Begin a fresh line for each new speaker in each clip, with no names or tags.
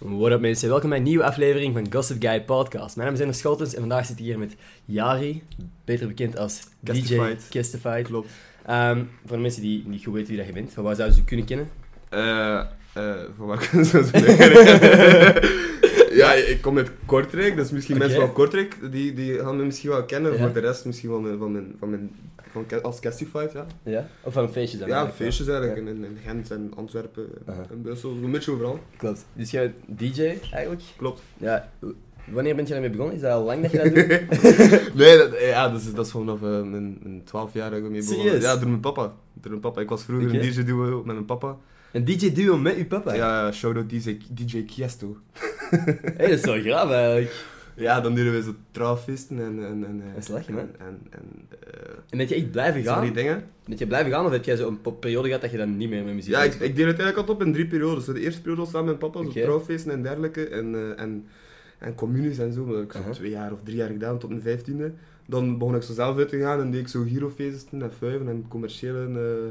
What up mensen, welkom bij een nieuwe aflevering van Gossip Guy Podcast. Mijn naam is Ender Scholtens en vandaag zit ik hier met Jari, beter bekend als
Castified.
DJ Castified.
Klopt.
Ehm, voor de mensen die niet goed weten wie dat je bent, van waar zouden ze je kunnen kennen?
Eh eh, voor wat kunnen ze dat zeggen? Ja, ik kom uit Kortrijk, dus misschien
Oké.
mensen van Kortrijk, die, die gaan me misschien wel kennen.
Ja.
Voor de rest misschien wel mijn- van mijn... Van mijn van, ca- als Castified, ja.
Ja? Of van feestjes dan?
Ja,
eigenlijk,
feestjes eigenlijk,
Ja.
in, in Gent en Antwerpen
Aha.
en Brussel, een beetje overal.
Klopt. Dus jij bent DJ eigenlijk?
Klopt.
Ja. w- Wanneer bent je daarmee begonnen? Is dat al lang dat je dat doet?
Nee, dat, ja, dat is, dat is vanaf eh, mijn, mijn 12 jaar dat ik ermee begonnen.
Serieus?
Ja, door mijn papa. Door mijn papa. Ik was vroeger
Oké.
een DJ-duo met mijn papa.
Een DJ duo met uw papa?
Ja, shout-out DJ, DJ Kiesto.
Hé, dat is wel grappig eigenlijk.
Ja, dan deden we zo trouwfeesten en... en, en eh,
Dat is lachen, hè?
En, en, en eh,
En dat je echt blijven
zo van die
gaan?
dingen.
Dat je blijven gaan of heb jij zo'n po- periode gehad dat je dan niet meer met muziek
Dus Ja, ik,
bezig
ik deel het eigenlijk altijd op in drie periodes. Zo De eerste periode was samen met papa, zo
Oké.
trouwfeesten en dergelijke. En, eh, en, en communes en zo. Maar dat heb ik zo
Aha.
twee jaar of drie jaar gedaan, tot mijn vijftiende. Dan begon ik zo zelf uit te gaan en deed ik zo girofeesten en vuiven en commerciële eh,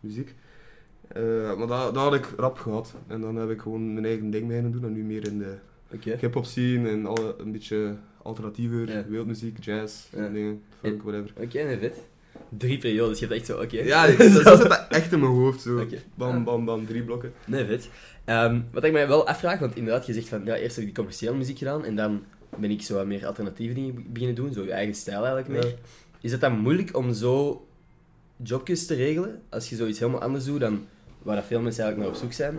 muziek. Eh, maar dat, dat had ik rap gehad. En dan heb ik gewoon mijn eigen ding beginnen doen. En nu meer in de
bent? Oké.
hip-hop scene en alle, een beetje alternatiever,
Ja.
wereldmuziek, jazz,
Ja.
dingen, funk, whatever.
Oké, nee, vet. Drie periodes, je hebt echt zo, oké.
Ja, dat- zo zit dat echt in mijn hoofd. Zo.
Oké.
Bam, bam, bam, drie blokken.
Nee, vet. Ehm, wat ik mij wel afvraag, want inderdaad, je zegt van, ja, eerst heb ik die commerciële muziek gedaan en dan ben ik zo wat meer alternatieve dingen be- beginnen doen, zo je eigen stijl eigenlijk meer.
Ja.
Is het dan moeilijk om zo jobjes te regelen, als je zoiets helemaal anders doet dan waar dat veel mensen eigenlijk naar op zoek zijn?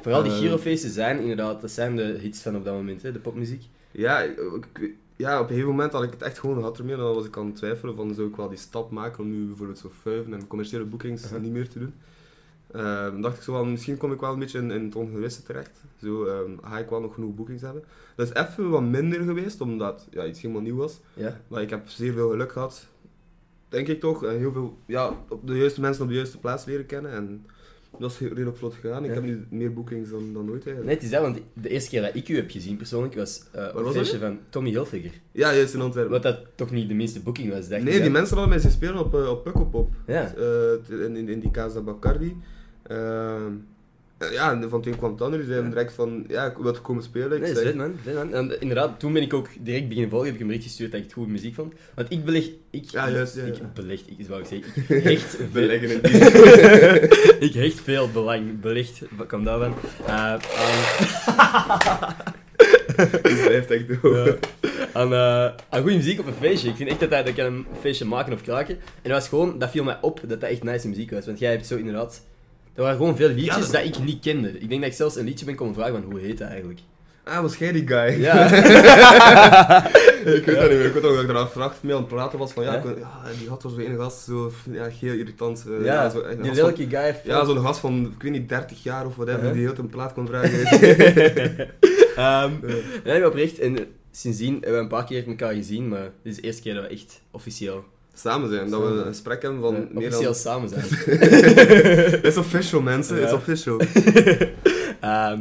Vooral die
Eh.
girofeesten zijn inderdaad, dat zijn de hits van op dat moment, hè, de popmuziek.
Ja, ik- ik- ja, op een gegeven moment had ik het echt gewoon gehad ermee. Dan was ik aan het twijfelen van zou ik wel die stap maken om nu bijvoorbeeld zo vuiven en commerciële boekings
Uh-huh.
niet meer te doen. Ehm, dan dacht ik zo wel, misschien kom ik wel een beetje in, in het ongewisse terecht. Zo ehm, ga ik wel nog genoeg boekings hebben. Dat is even wat minder geweest, omdat ja, iets helemaal nieuw was.
Ja,
Maar ik heb zeer veel geluk gehad, denk ik toch. En heel veel, ja, op de juiste mensen op de juiste plaats leren kennen. En dat is heel- redelijk vlot gegaan. Ik
Ja.
heb nu meer boekings dan, dan ooit eigenlijk.
net is dat, want de eerste keer dat ik u heb gezien persoonlijk was eh op
was
een
dat
feestje van Tommy Hilfiger.
Ja, juist in Antwerpen.
Wat dat toch niet de minste boeking was, dacht
nee,
ik
die
dan.
mensen hadden mij zien spelen op, eh, op Pukkelpop.
Ja.
Eh, in, in, in die Casa Bacardi. Ehm, eh, ja, en van toen kwam het ander. Die zeiden direct van, ja, ik wil je komen spelen. Ik
Nee,
zeg,
zet man, zet man. En inderdaad, toen ben ik ook direct beginnen volgen, heb ik een bericht gestuurd dat ik het goede muziek vond. Want ik beleg... Ik,
Ja, juist, ja, ja.
Ik beleg, ik, is wat ik zeg. Ik hecht, veel-
Beleggen in die.
ik hecht veel belang. Belegd, wat kwam daarvan? Eh, aan
Die blijft echt door.
eh, aan, eh, aan goede muziek op een feestje. Ik vind echt dat hij dat kan een feestje maken of kraken. En dat was gewoon, dat viel mij op dat dat echt nice muziek was. Want jij hebt zo inderdaad... Er waren gewoon veel liedjes
Ja, dat-
dat... ik niet kende. Ik denk dat ik zelfs een liedje ben komen vragen van hoe heet dat eigenlijk?
Ah, was jij die guy?
Ja.
ik weet dat niet meer. Ik weet ook dat ik er afvracht mee aan het praten was van ja,
Ja?
ik kon- ja die had wel zo'n ene gast, zo ja, heel irritant. eh,
ja,
zo, echt een
die
gast van-
lelijke guy.
Ja, zo'n gast van, ik weet niet, 30 jaar of whatever,
Ja.
die heel een plaat kon vragen.
Ehm, Nee, maar oprecht. En eh, sindsdien hebben we een paar keer elkaar gezien, maar dit is de eerste keer dat we echt officieel,
Samen zijn, dat we
Samen.
een gesprek hebben
eh,
van meer
officieel
dan...
samen zijn.
It's official mensen, it's
Ja.
official.
Ehm,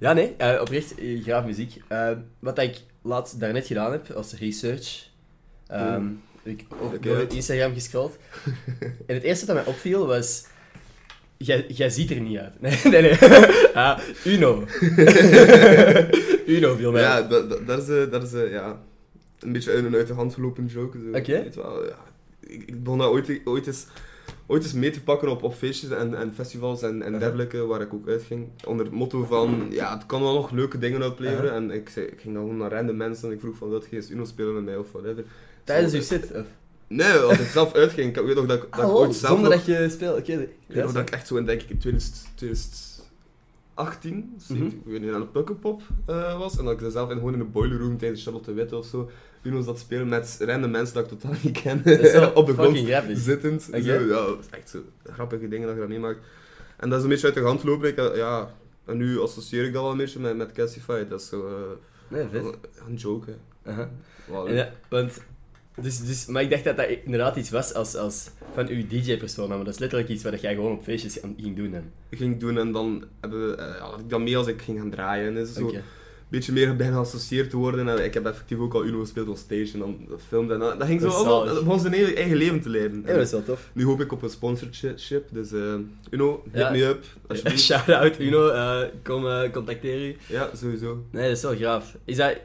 ja, nee, eh, oprecht, eh, graaf muziek. Ehm, wat ik laatst daarnet gedaan heb, als research, ehm, heb ik ook
Oké.
door Instagram gescrollt. en het eerste dat mij opviel was... Jij jij ziet er niet uit. Nee, nee, nee. Ah, Uno. Uno viel mij
Ja,
op.
dat, dat, dat is, eh, dat is eh, ja, een beetje uit, een uit de hand gelopen joke. Zo.
Oké.
Weet wel, ja. ik, ik begon dat ooit, ooit, eens, ooit eens mee te pakken op, op feestjes en, en festivals en, en
Uh-huh.
dergelijke, waar ik ook uitging. Onder het motto van, ja, het kan wel nog leuke dingen opleveren.
Uh-huh.
En ik, zei, ik ging dan gewoon naar random mensen en ik vroeg van, wil je eens Uno spelen met mij of whatever.
Tijdens
Zo,
je
eh,
set. of-
Nee, als ik zelf uitging. Ik weet nog dat ik, dat ik
oh,
ooit zelf
zonder
nog-
dat je speelt. Oké,
Ik weet nog
ja,
dat ik echt zo in, denk ik, in 2000
Mhm.
2018, 17, dus ik weet niet, aan de Pukkelpop eh, was. En dat ik er zelf in, gewoon in de boiler room tijdens Charlotte Witte of zo, Uno's dat spelen met random mensen dat ik totaal niet ken.
Dat is wel
op de grond
fucking grappig.
zittend.
Oké.
Zo, ja, dat is echt zo grappige dingen dat je dat meemaakt. En dat is een beetje uit de hand lopen. Ik, eh, ja, en nu associeër ik dat wel een beetje met, met Cassify. Dat is zo eh,
Nee, vet.
een, een joke. hè.
Aha.
Wel,
En Ja, want, dus, dus, maar ik dacht dat dat inderdaad iets was als, als van uw DJ-persoon, maar dat is letterlijk iets wat jij gewoon op feestjes aan- ging doen. Dan.
Ik ging doen en dan hebben we, eh, had ik dat mee als ik ging gaan draaien. En is het zo,
Oké.
beetje meer beginnen geassocieerd te worden. En ik heb effectief ook al Uno gespeeld op stage en dan film. En dat, dat ging zo
Dat is
allemaal,
zalig.
dat begon zijn eigen, eigen leven te leiden.
Ja, dat is wel tof.
Nu hoop ik op een sponsorship, dus eh Uno, hit
Ja.
me up, alsjeblieft.
Shout-out Uno, eh, kom eh, contacteer u.
Ja, sowieso.
Nee, dat is wel graaf. Is dat...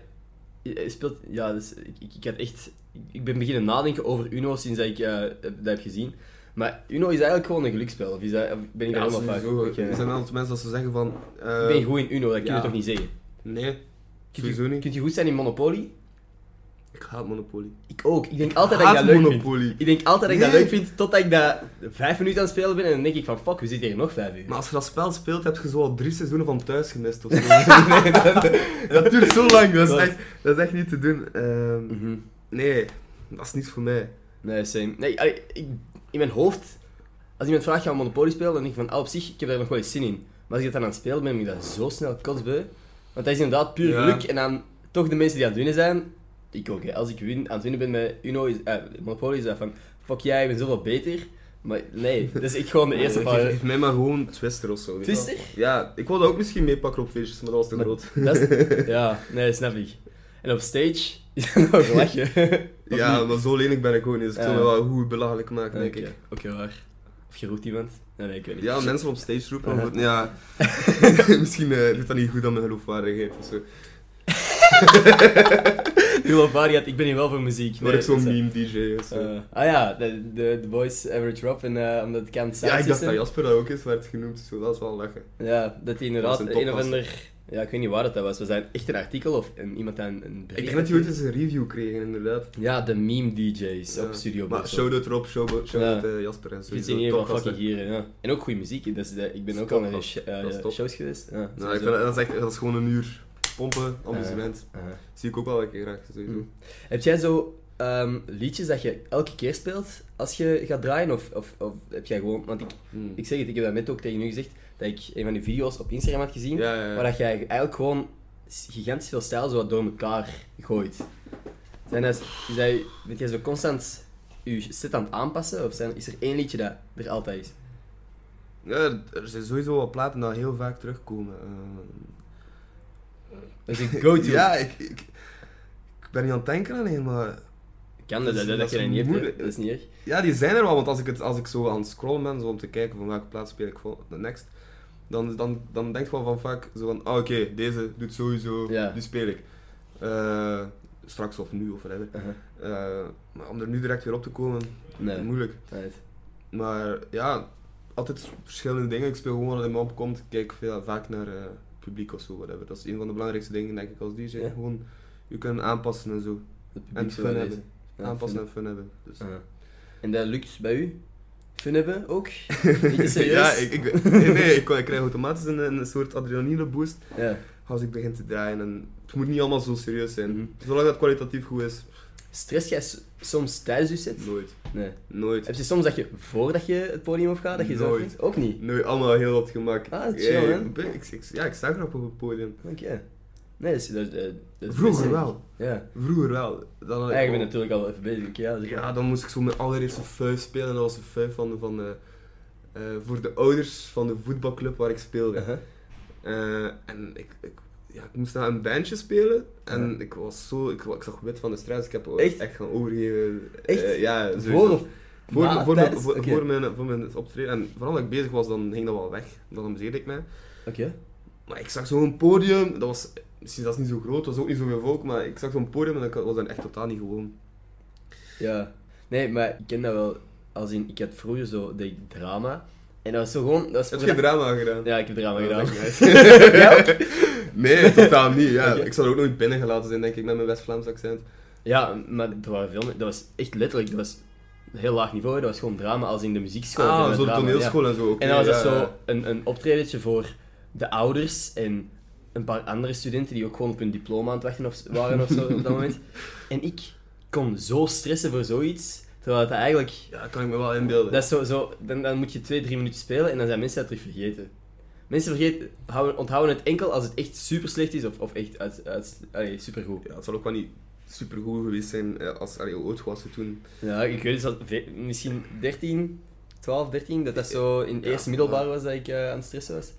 je Speelt... Ja, dus ik, ik, ik had echt... Ik ben beginnen nadenken over Uno sinds dat ik eh, dat heb gezien. Maar Uno is eigenlijk gewoon een geluksspel, of, is dat, of ben ik
ja,
daar helemaal fout?
sowieso.
Ik, eh,
Er zijn altijd mensen dat ze zeggen van... eh,
ik ben goed in Uno, dat kun je
ja.
toch niet zeggen?
Nee,
Kun je,
sowieso niet.
kun je goed zijn in Monopoly?
Ik haat Monopoly.
Ik ook. Ik denk altijd dat ik
Haat
dat leuk vind.
Monopoly.
Ik denk altijd dat ik dat
Nee.
leuk vind, totdat ik dat vijf minuten aan het spelen ben en dan denk ik van fuck, we zitten hier nog vijf uur.
Maar als je dat spel speelt, heb je zo al drie seizoenen van thuis gemist of zo. nee, dat, dat duurt zo lang, dat is
Dat-
echt, dat is echt niet te doen. Ehm,
Mhm.
nee, dat is niets voor mij.
Nee, same. Nee, allee, ik, in mijn hoofd, als iemand vraagt, gaan we Monopoly spelen? Dan denk ik van, ah, op zich, ik heb daar nog wel eens zin in. Maar als ik dat dan aan het spelen ben, ben ik dat zo snel kotsbeu. Want dat is inderdaad puur
Ja.
geluk. En dan toch de mensen die aan het winnen zijn, ik ook. Hè. Als ik win, aan het winnen ben met Uno, is, eh, Monopoly, is dat van, fuck jij, ik ben zoveel beter. Maar nee, dat is ik gewoon de eerste
Nee,
paar...
Eh, geef, geef mij maar gewoon Twister of zo. weet je wel.
Twister?
Ja, ik wilde ook misschien meepakken op feestjes, maar dat was te
Maar
groot.
dat is- ja, nee, snap ik. En op stage is dat nog lachen. Of
Ja,
niet?
maar zo lenig ben ik gewoon niet, dus ik
Ja.
zal me wel goed belachelijk maken, denk
Oké,
ik.
Oké, waar. Of je roept iemand? Nee, nee, ik weet niet.
Ja, mensen op stage roepen,
Ja.
maar goed, ja. misschien eh, doet dat niet goed aan mijn geloofwaardigheid of zo.
Geloofwaardigheid, ik ben hier wel voor muziek.
Word ik
Nee,
zo'n
dat is-
meme-dj of zo.
eh, ah ja, de, de, de boys average rap en eh, omdat ik aan het
ja, ik dacht dat
ja.
Jasper dat ook is, werd genoemd, dus dat is wel lachen.
ja, dat hij inderdaad
Dat is een
een of
topgast.
ander... Ja, ik weet niet waar dat dat was. Was dat echt een artikel of een, iemand aan een bericht?
Ik denk dat die ooit eens een review kregen, inderdaad.
Ja, de meme DJ's
Ja.
op Studio
Maar
Brussel.
shout-out Rob, shout-out shout-out, eh, Jasper en
Ik vind
sowieso.
ze in ieder geval
topgasten.
fucking hier. Ja. En ook goede muziek. Dus, eh, ik ben
Dat
ook
is
al naar
topgast.
sh- eh,
Dat is top.
shows geweest. Ja,
Nou, ik
sowieso.
vind, dat, is echt, dat is gewoon een uur pompen, amusement.
Aha.
Zie ik ook wel een keer graag, sowieso.
Mm. Heb jij zo ehm, liedjes dat je elke keer speelt als je gaat draaien? Of, of, of heb jij gewoon... Want ik,
Mm.
ik zeg het, ik heb dat net ook tegen u gezegd, dat ik een van die video's op Instagram had gezien,
Ja, eh. ja, ja.
waar dat jij eigenlijk gewoon s- gigantisch veel stijl zo wat door elkaar gooit. Zijn dat, is dat, bent jij zo constant je set aan het aanpassen? Of zijn, is er één liedje dat er altijd is?
Ja, er zijn sowieso wel platen die heel vaak terugkomen. Eh,
Dat is een go-to.
ja, ik, ik, ik ben niet aan het denken alleen, maar...
Kan dat, dat,
Dat is-
dat,
dat
je
is
dat niet hebt, hè.
moeilijk.
dat is niet erg.
Ja, die zijn er wel, want als ik, het, als ik zo aan het scrollen ben, zo om te kijken van welke plaats speel ik vol- de next, dan, dan, dan denk ik wel van vaak zo van, ah, oké, deze doet sowieso,
Ja.
die speel ik. Eh, straks of nu of whatever.
Aha.
Eh, maar om er nu direct weer op te komen,
Nee.
moeilijk.
Right.
Maar ja, altijd verschillende dingen. Ik speel gewoon wat in me opkomt. Ik kijk veel, vaak naar eh, publiek of zo, whatever. Dat is een van de belangrijkste dingen, denk ik, als DJ.
Ja.
Gewoon, je kunt aanpassen en zo.
Het publiek
En
zo
fun
lezen.
hebben.
Ja,
aanpassen
fun.
en fun hebben. Dus.
Aha. En dat lukt bij u? Fun hebben ook? Niet serieus?
ja, ik, ik, nee, nee, ik, ik krijg automatisch een, een soort adrenaline boost
Ja.
als ik begin te draaien. En het moet niet allemaal zo serieus zijn.
Mhm.
Zolang dat kwalitatief goed is,
Stress jij s- soms tijdens je set?
nooit.
Nee.
Nooit.
Heb je soms dat je voordat je het podium op gaat, dat je zo
Nooit.
vindt? Ook niet.
Nee, allemaal heel op het gemak.
Ah, chill,
Ja,
hè?
ik ben- ik, ik- ja, ik sta graag op het podium.
Oké. Nee, dat is, dat, is- dat is
Vroeger
best-
wel.
Ja.
Vroeger wel. Dan had ik
Eigenlijk ben
wel-
je natuurlijk al even bezig. Ja, dus-
Ja, dan moest ik zo mijn allereerste fuif spelen. En dat was een fuif van, van eh, eh, voor de ouders van de voetbalclub waar ik speelde.
Uh-huh.
Eh, en ik, ik, ja, ik moest naar een bandje spelen. En
Ja.
ik was zo... Ik, wa- ik zag wit van de stress. Ik heb ook
Echt?
echt, gaan overgeven.
Echt?
Eh, ja, sowieso.
Voor of
Voor,
na,
voor, mijn-
tijdens?
voor,
Oké.
voor mijn, voor mijn optreden. En vooral dat ik bezig was, dan ging dat wel weg. Dan omzeerde ik mij.
Oké.
Maar ik zag zo'n podium. Dat was... Misschien dat is niet zo groot, dat was ook niet zoveel volk. Maar ik zag zo'n podium en dat was dan echt totaal niet gewoon.
Ja. Nee, maar ik ken dat wel. Als in, ik had vroeger zo, deed ik drama. En dat was zo gewoon... Dat was
Heb
voor
je
dat-
drama gedaan?
Ja, ik heb drama
Ja,
gedaan.
dat is
Ja, ook?
Nee, totaal niet. Ja.
Oké.
Ik zou er ook nooit binnengelaten zijn, denk ik, met mijn West-Vlaams accent.
ja, maar er waren veel mensen. Dat was echt letterlijk, dat was een heel laag niveau. Dat was gewoon drama als in de muziekschool. Dat
ah,
was
zo de
drama, ja.
toneelschool en zo. oké,
En dan was dat
ja,
zo
ja.
een, een optredentje voor de ouders en een paar andere studenten die ook gewoon op hun diploma aan het wachten of, waren of zo op dat moment. En ik kon zo stressen voor zoiets, terwijl het eigenlijk...
Ja, dat kan ik me wel inbeelden.
Dat is zo, zo, dan, dan moet je twee, drie minuten spelen en dan zijn mensen dat terug vergeten. Mensen vergeten, houden, onthouden het enkel als het echt super slecht is of, of echt uit, uit, allee, supergoed.
Ja, het zal ook wel niet supergoed geweest zijn eh, als allee, hoe oud was ze toen.
Ja, ik weet dus dat ve- misschien 13, 12, 13, dat dat zo in het
Ja,
eerste middelbaar was Dus, eh, dat ik eh, aan het stressen was.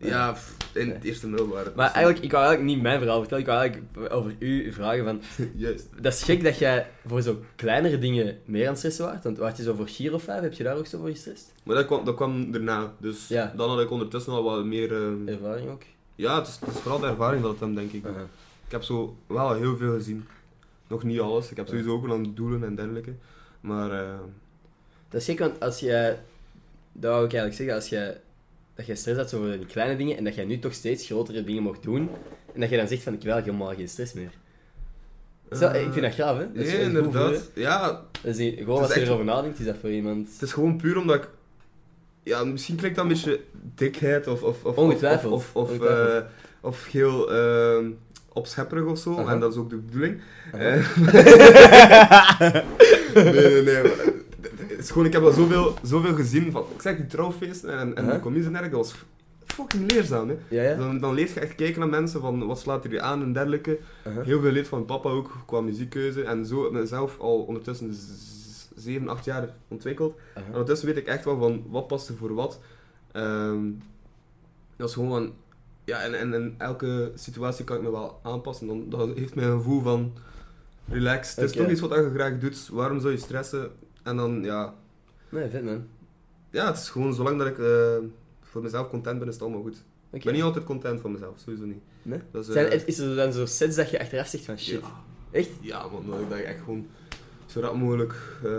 Ja, pff, in het
Nee.
eerste middelbare.
Maar eigenlijk, ik wou eigenlijk niet mijn verhaal vertellen. Ik wou eigenlijk over u vragen van...
Juist.
Dat is gek dat jij voor zo kleinere dingen meer aan het stressen waart. Want waart je zo voor Giro 5, heb je daar ook zo voor gestrest?
Maar dat kwam, dat kwam daarna. Dus
Ja.
dan had ik ondertussen al wat meer... ehm,
Ervaring ook?
Ja, het is, het is vooral de ervaring dat het hem, denk ik.
Uh-huh.
Ik heb zo wel heel veel gezien. Nog niet alles. Ik heb
Ja.
sowieso ook aan doelen en dergelijke. Maar eh,
Dat is gek, want als jij... Dat wou ik eigenlijk zeggen, als jij... Dat jij stress had zo voor die kleine dingen en dat jij nu toch steeds grotere dingen mocht doen. En dat jij dan zegt van, ik wil eigenlijk helemaal geen stress meer. Zo,
eh,
ik vind dat gaaf, hè? Dat is
Nee,
een goed gevoel,
inderdaad. Ja,
hè? Dat is, gewoon
is
als je
echt-
erover nadenkt, is dat voor iemand...
het is gewoon puur omdat ik... Ja, misschien klinkt dat een beetje dikheid of... of, of
Ongetwijfeld.
Of, of, of,
Ongetwijfeld.
eh, of heel ehm, opschepperig of zo.
Aha.
En dat is ook de bedoeling.
Aha.
Eh, nee, nee, nee. maar het is gewoon, ik heb al zoveel, zoveel gezien van... Ik zeg, die trouwfeesten en, en
Aha.
de commies en dergelijke, dat was fucking leerzaam, hè.
Ja, ja?
Dan, dan lees je echt kijken naar mensen van wat slaat er hier aan en dergelijke.
Aha.
Heel veel leed van papa ook qua muziekkeuze en zo heb ik mezelf al ondertussen 7, 8 jaar ontwikkeld. En
Aha.
ondertussen weet ik echt wel van wat past er voor wat. Ehm, dat is gewoon van, ja, en, en in elke situatie kan ik me wel aanpassen. Dan, dat heeft mij een gevoel van relax. Het is
Oké.
toch iets wat je graag doet, waarom zou je stressen? En dan, ja,
Nee, vet man.
ja het is gewoon zolang dat ik eh, voor mezelf content ben, is het allemaal goed. Ik
Oké.
ben niet altijd content van mezelf, sowieso niet.
Nee?
Dat is,
Zijn,
eh,
is er dan zo sets dat je achteraf zegt van shit?
Ja.
Echt?
Ja, man, dat ik dat ik echt gewoon zo rap mogelijk eh,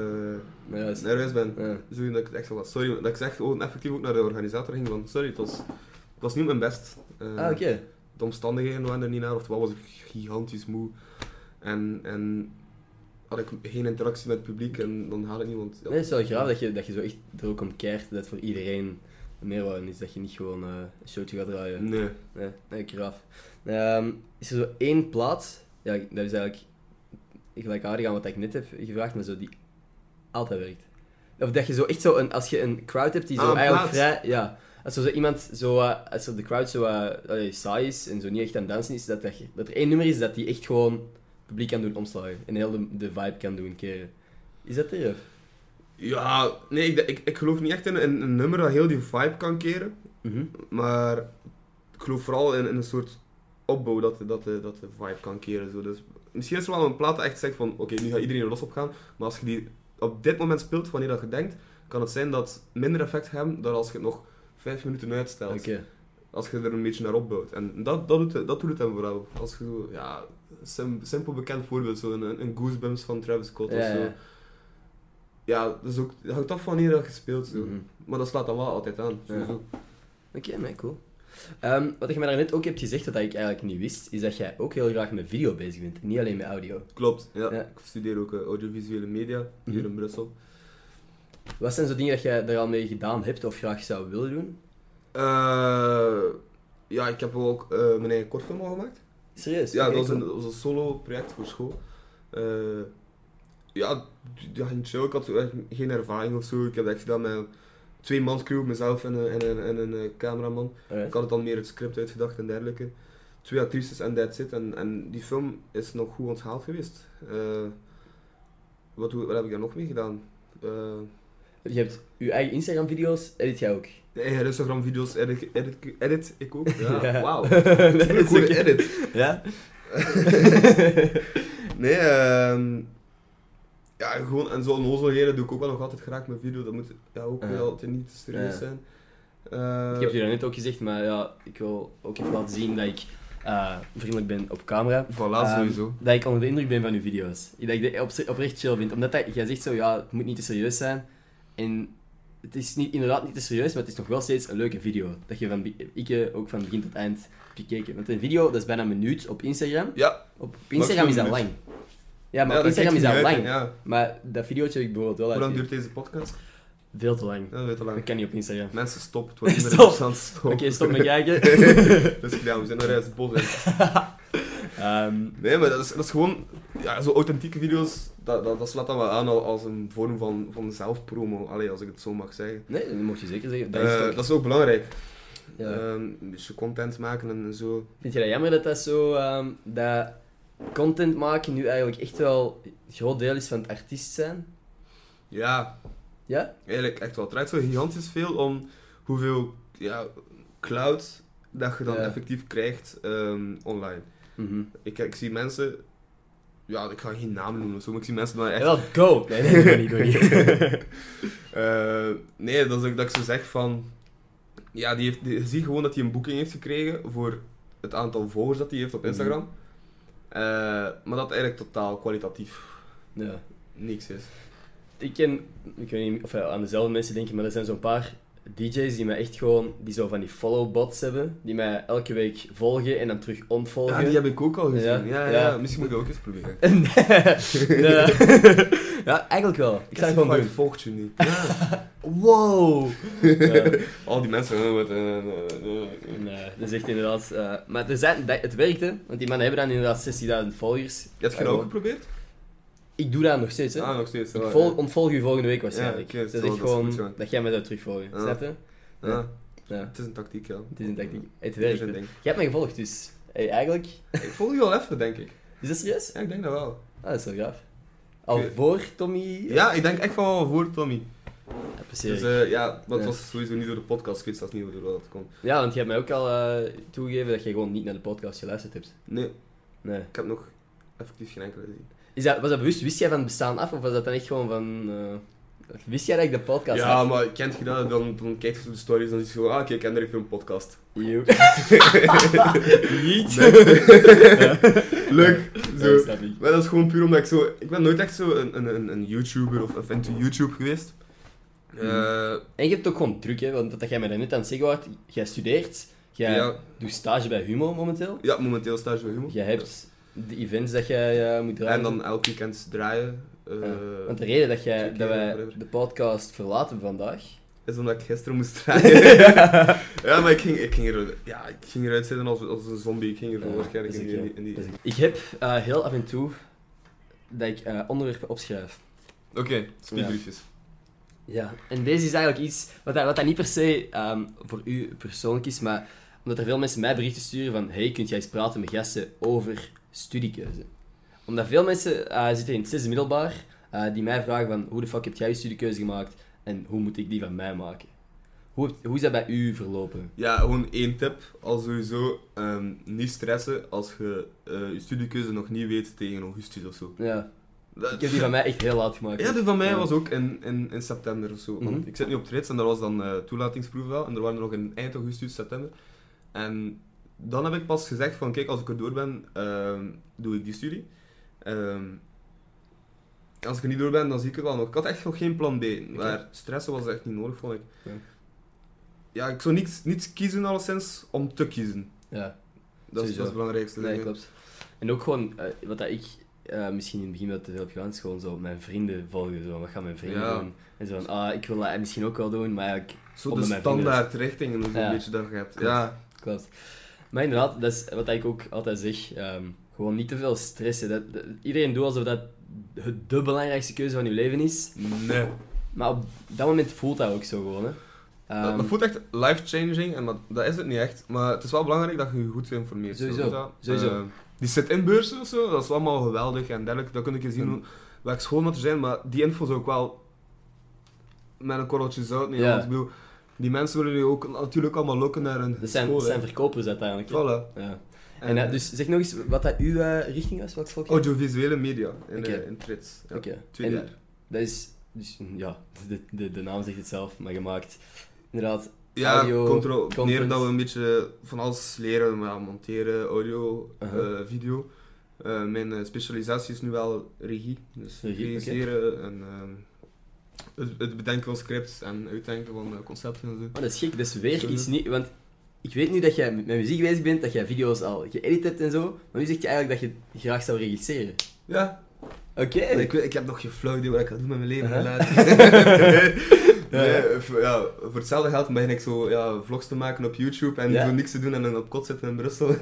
Maar ja, dat is-
nerveus ben.
ja.
Zo dat ik het echt zo wat sorry, dat ik echt gewoon effectief ook naar de organisator ging van sorry, het was, het was niet mijn best. Eh,
Ah, oké.
De omstandigheden waren er niet naar, oftewel was ik gigantisch moe. En, en had ik geen interactie met het publiek en dan haal ik niemand.
Nee, het is wel graaf dat je, dat je zo echt er ook om keert dat voor iedereen een meerwaarde is. Dat je niet gewoon eh, een showtje gaat draaien.
Nee.
Nee, nee graaf. Ehm, is er zo één plaats, ja, dat is eigenlijk gelijkaardig aan wat ik net heb gevraagd, maar zo die altijd werkt. Of dat je zo echt zo, een, als je een crowd hebt die zo
Ah, een
eigenlijk
plaats.
vrij, ja. Als er zo iemand zo, eh, als er de crowd zo eh, allee, saai is en zo niet echt aan het dansen is, dat, dat, je- dat er één nummer is dat die echt gewoon het publiek kan doen omslagen. En heel de, de vibe kan doen keren. Is dat er? of?
Ja, nee, ik, ik, ik geloof niet echt in een, een nummer dat heel die vibe kan keren.
Mhm.
Maar ik geloof vooral in, in een soort opbouw dat, de- dat, de, dat de vibe kan keren. Zo. Dus misschien is er wel een plaat dat echt zegt van oké, nu gaat iedereen er los op gaan. Maar als je die op dit moment speelt, wanneer dat je denkt, kan het zijn dat het minder effect hebben dan als je het nog vijf minuten uitstelt.
Oké.
Als je er een beetje naar opbouwt. En dat, dat, doet, het- dat doet het hem vooral. Als je zo, ja, sim- simpel bekend voorbeeld, zo een, een Goosebumps van Travis Scott of
Ja,
zo.
ja.
Ja, dat is ook, dat hangt af van wanneer dat je speelt. Zo.
Mhm.
Maar dat slaat dan wel altijd aan.
Ja.
sowieso.
Oké, nee, cool. Ehm, wat je mij daarnet ook hebt gezegd, wat ik eigenlijk niet wist, is dat jij ook heel graag met video bezig bent. Niet alleen met audio.
Klopt, ja.
Ja.
Ik studeer ook eh, audiovisuele media hier
Mhm.
in Brussel.
Wat zijn zo dingen dat jij daar al mee gedaan hebt of graag zou willen doen?
Eh, ja, ik heb ook eh, mijn eigen kortfilm al gemaakt.
Serieus?
Ja,
Oké,
dat was een,
cool.
dat was een solo project voor school. Eh, ja, d- ja, ging chill. Ik had zo echt geen ervaring of zo. Ik heb dat gedaan met een twee-mans crew, mezelf en een, en, een, en een eh, cameraman. Ik
Alright.
had het dan meer het script uitgedacht en dergelijke. Twee actrices en that's it. En, en die film is nog goed onthaald geweest. Eh, wat, doe- wat heb ik daar nog mee gedaan? Eh,
Je hebt je eigen Instagram-video's, edit jij ook.
De eigen Instagram-video's edit, edit, edit ik ook. Ja,
Ja.
wauw.
Dat
Een goede
ook-
edit. Eh.
Ja?
Nee, ehm ja, gewoon, en zo'n ozelheden doe ik ook wel nog altijd graag met video. Dat moet ja, ook
Ja.
wel altijd niet te serieus
Ja.
zijn. Eh,
Ik heb je daarnet ook gezegd, maar ja, ik wil ook even laten zien dat ik eh, vriendelijk ben op camera.
Voilà,
Ehm,
sowieso.
Dat ik onder de indruk ben van uw video's. Dat ik dit op, oprecht chill vind. Omdat dat, jij zegt zo, ja, het moet niet te serieus zijn. En het is niet, inderdaad niet te serieus, maar het is nog wel steeds een leuke video. Dat je van, be- ik eh, ook van begin tot eind heb gekeken. Want een video, dat is bijna een minuut op Instagram.
Ja,
Op, op Instagram is dat
minuut.
lang. Ja, maar
ja,
op Instagram is
kijkt
dat
niet uit,
lang.
Ja.
Maar dat videootje heb ik bijvoorbeeld wel
Hoe lang
uit.
duurt deze podcast?
Veel te lang.
Ja, dat weet te
Dat
lang.
kan niet op Instagram.
Mensen, stop. Het wordt niet meer
Stop.
interessant. Stop.
Oké, stop met kijken.
Dus ja, we zijn naar het bos. hè.
Ehm,
Nee, maar dat is, dat is gewoon... Ja, zo authentieke video's, dat, dat, dat slaat dan wel aan al- als een vorm van, van zelfpromo. Allee, als ik het zo mag zeggen.
nee, dat mocht je zeker zeggen. Dat
Eh,
is
Dat is,
toch-
ook belangrijk.
ja.
Ehm, een beetje content maken en zo.
Vind je dat jammer dat dat zo... ehm, dat content maken nu eigenlijk echt wel een groot deel is van het artiest zijn?
Ja,
Ja?
eigenlijk echt wel. Het draait zo gigantisch veel om hoeveel ja, cloud dat je dan
Ja.
effectief krijgt ehm, online.
Mhm.
Ik, ik zie mensen, ja, ik ga geen namen noemen of zo, maar ik zie mensen dan echt.
Jawel, go! Nee, nee, doe niet, doe niet.
Eh, nee, dat is ook dat ik zo zeg van. Ja, die heeft, die, je ziet gewoon dat hij een boeking heeft gekregen voor het aantal volgers dat hij heeft
Mhm.
op Instagram. Eh, maar dat eigenlijk totaal kwalitatief
Ja.
niks is.
Ik ken, ik weet niet of ja, aan dezelfde mensen denken, maar er zijn zo'n paar DJ's die mij echt gewoon, die zo van die follow-bots hebben, die mij elke week volgen en dan terug
Ja,
ontvolgen.
die heb ik ook al gezien.
Ja,
Ja, ja,
ja.
misschien moet ik dat ook eens proberen.
Nee. Nee. ja, eigenlijk wel. Ik zou het gewoon
Spotify
doen.
volgt je niet. Ja.
Wow! Ja.
Al die mensen. eh, wat, eh, eh, eh.
Nee, dat is echt inderdaad. eh, maar er zijn, dat- het werkte, want die mannen hebben dan inderdaad 16.000 volgers.
Je hebt geen
Ah,
ook
gewoon.
geprobeerd?
Ik doe dat nog steeds, hè?
Ah, nog steeds.
ik
ja,
vol,
ja.
ontvolg u volgende week waarschijnlijk.
Ja, oké,
dat is
zo,
echt
dat is
gewoon
goed, ja.
dat jij mij zou terugvolgen.
Ja.
Snap je?
Ja,
Ja,
Het is een tactiek, ja.
het is een tactiek. Het
Het is
werkt.
een
hè.
ding.
Jij hebt mij gevolgd, dus hey, eigenlijk.
Ik volg je al even, denk ik.
Is dat serieus?
Ja, ik denk dat wel.
Ah, dat is wel gaaf. Al
Ik-
voor Tommy? eh,
Ja, ik denk echt van wel voor Tommy.
ja, precies.
Dus eh, ja, dat
Ja.
was sowieso niet door de podcast. Ik weet zelfs niet hoe dat komt.
ja, want jij hebt mij ook al eh, toegegeven dat jij gewoon niet naar de podcast geluisterd hebt.
Nee,
Nee.
ik heb nog effectief geen enkele gezien.
Is dat, was dat bewust? Wist jij van het bestaan af? Of was dat dan echt gewoon van... eh, wist jij dat ik de podcast
Ja,
had?
maar kent je dat? Dan, dan kijk je op de stories en dan zie je gewoon, ah, kijk, en er heeft een podcast.
Eeuw. Niet.
Leuk!
Nee,
Zo.
snap ik.
Maar dat is gewoon puur omdat ik zo... Ik ben nooit echt zo een, een, een, een YouTuber of, of into YouTube geweest.
Mm.
Eh,
En je hebt ook gewoon druk, hè? Want dat jij mij net aan het zeggen was, jij studeert, jij
ja,
doet stage bij Humo momenteel.
ja, momenteel stage bij Humo.
Jij hebt de events dat jij eh, moet draaien.
En dan elk weekend draaien. eh,
Ja. Want de reden dat, jij,
twee
dat
keer,
wij
whatever.
de podcast verlaten vandaag...
is omdat ik gisteren moest draaien. ja, maar ik ging, ik ging, er, ja, ik ging eruit zitten als, als een zombie. Ik ging er
Ja,
waarschijnlijk
Eh, dat
in
is
die...
oké.
in
dat
die- in die-
is oké. Ik heb eh, heel af en toe dat ik eh, onderwerpen opschrijf.
Oké, speedbriefjes.
Ja, en deze is eigenlijk iets wat dat, wat dat niet per se ehm, voor u persoonlijk is, maar omdat er veel mensen mij berichten sturen van hey, kunt jij eens praten met gasten over studiekeuze? Omdat veel mensen eh, zitten in het zesde middelbaar eh, die mij vragen van hoe de fuck heb jij je studiekeuze gemaakt en hoe moet ik die van mij maken? Hoe, heb- hoe is dat bij u verlopen?
Ja, gewoon één tip. Al sowieso ehm, niet stressen als je eh, je studiekeuze nog niet weet tegen augustus of zo.
Ja,
Dat-
ik heb die van mij echt heel laat gemaakt.
Ja, die van mij
Ja.
was ook in, in, in september of zo. Want
Mhm.
ik zit nu op trades en daar was dan eh toelatingsproef wel. En er waren er nog in eind augustus, september. En dan heb ik pas gezegd van, kijk, als ik er door ben, ehm, doe ik die studie. Ehm, als ik er niet door ben, dan zie ik het wel nog. Ik had echt nog geen plan B. Maar stressen was echt niet nodig, vond ik.
Ja.
Ja, ik zou niets, niets kiezen alleszins om te kiezen.
Ja,
Dat is,
Sowieso.
dat is het belangrijkste.
nee,
denk ik.
klopt. En ook gewoon, eh, wat dat ik eh, misschien in het begin wel te veel heb gedaan, is gewoon zo mijn vrienden volgen. Zo. Wat gaan mijn vrienden
Ja.
doen? En zo van, ah, ik wil dat misschien ook wel doen, maar eigenlijk
Zo
Onder
de
mijn vrienden.
standaard richtingen, zo'n
Ja.
beetje dat je hebt.
Klopt.
Ja,
Klopt. Maar inderdaad, dat is wat ik ook altijd zeg. ehm, gewoon niet te veel stressen. Dat, dat- iedereen doet alsof dat het de belangrijkste keuze van je leven is.
nee.
Maar op dat moment voelt dat ook zo gewoon. Hè.
dat,
Ehm,
dat voelt echt life-changing, en dat, dat is het niet echt. Maar het is wel belangrijk dat je je goed geïnformeerd bent.
Sowieso,
weet je wel.
sowieso.
Eh, die zit-in-beurzen of zo, dat is allemaal geweldig en dergelijke. Dan kun ik je zien
Mm.
hoe, welke school dat er zijn, maar die info is ook wel met een korreltje zout nemen.
Ja.
Want ik bedoel, die mensen willen je ook natuurlijk allemaal lokken naar hun
dat zijn,
school.
dat zijn
hè.
verkopers uiteindelijk. hè.
Voilà.
Ja. En,
En,
eh, dus zeg nog eens wat dat uw eh, richting was, wat volk je?
Audiovisuele media in,
Oké.
eh, in Trits. Ja.
Oké.
Twee
En
jaar.
Dat is, dus, ja, de, de, de naam zegt het zelf, maar gemaakt. Inderdaad,
Ja,
audio,
controle.
content.
Neer dat we een beetje eh, van alles leren, maar ja, monteren, audio, eh,
Uh-huh.
video. Eh, mijn eh, specialisatie is nu wel regie, dus
Regie, oké.
regisseren en ehm, het, het bedenken van scripts en uitdenken van eh, concepten en zo.
oh, dat is gek, dat is weer
Sorry.
iets niet. Want ik weet nu dat jij met muziek bezig bent, dat jij video's al geëdit hebt en zo. Maar nu zeg je eigenlijk dat je graag zou regisseren.
Ja,
Oké.
maar ik, weet- ik heb nog geen flauw idee wat ik ga doen met mijn leven.
Uh-huh.
later. nee,
Ja.
eh, voor- ja, voor hetzelfde geld begin ik zo ja, vlogs te maken op YouTube en
Ja.
zo niks te doen en dan op kot zitten in Brussel.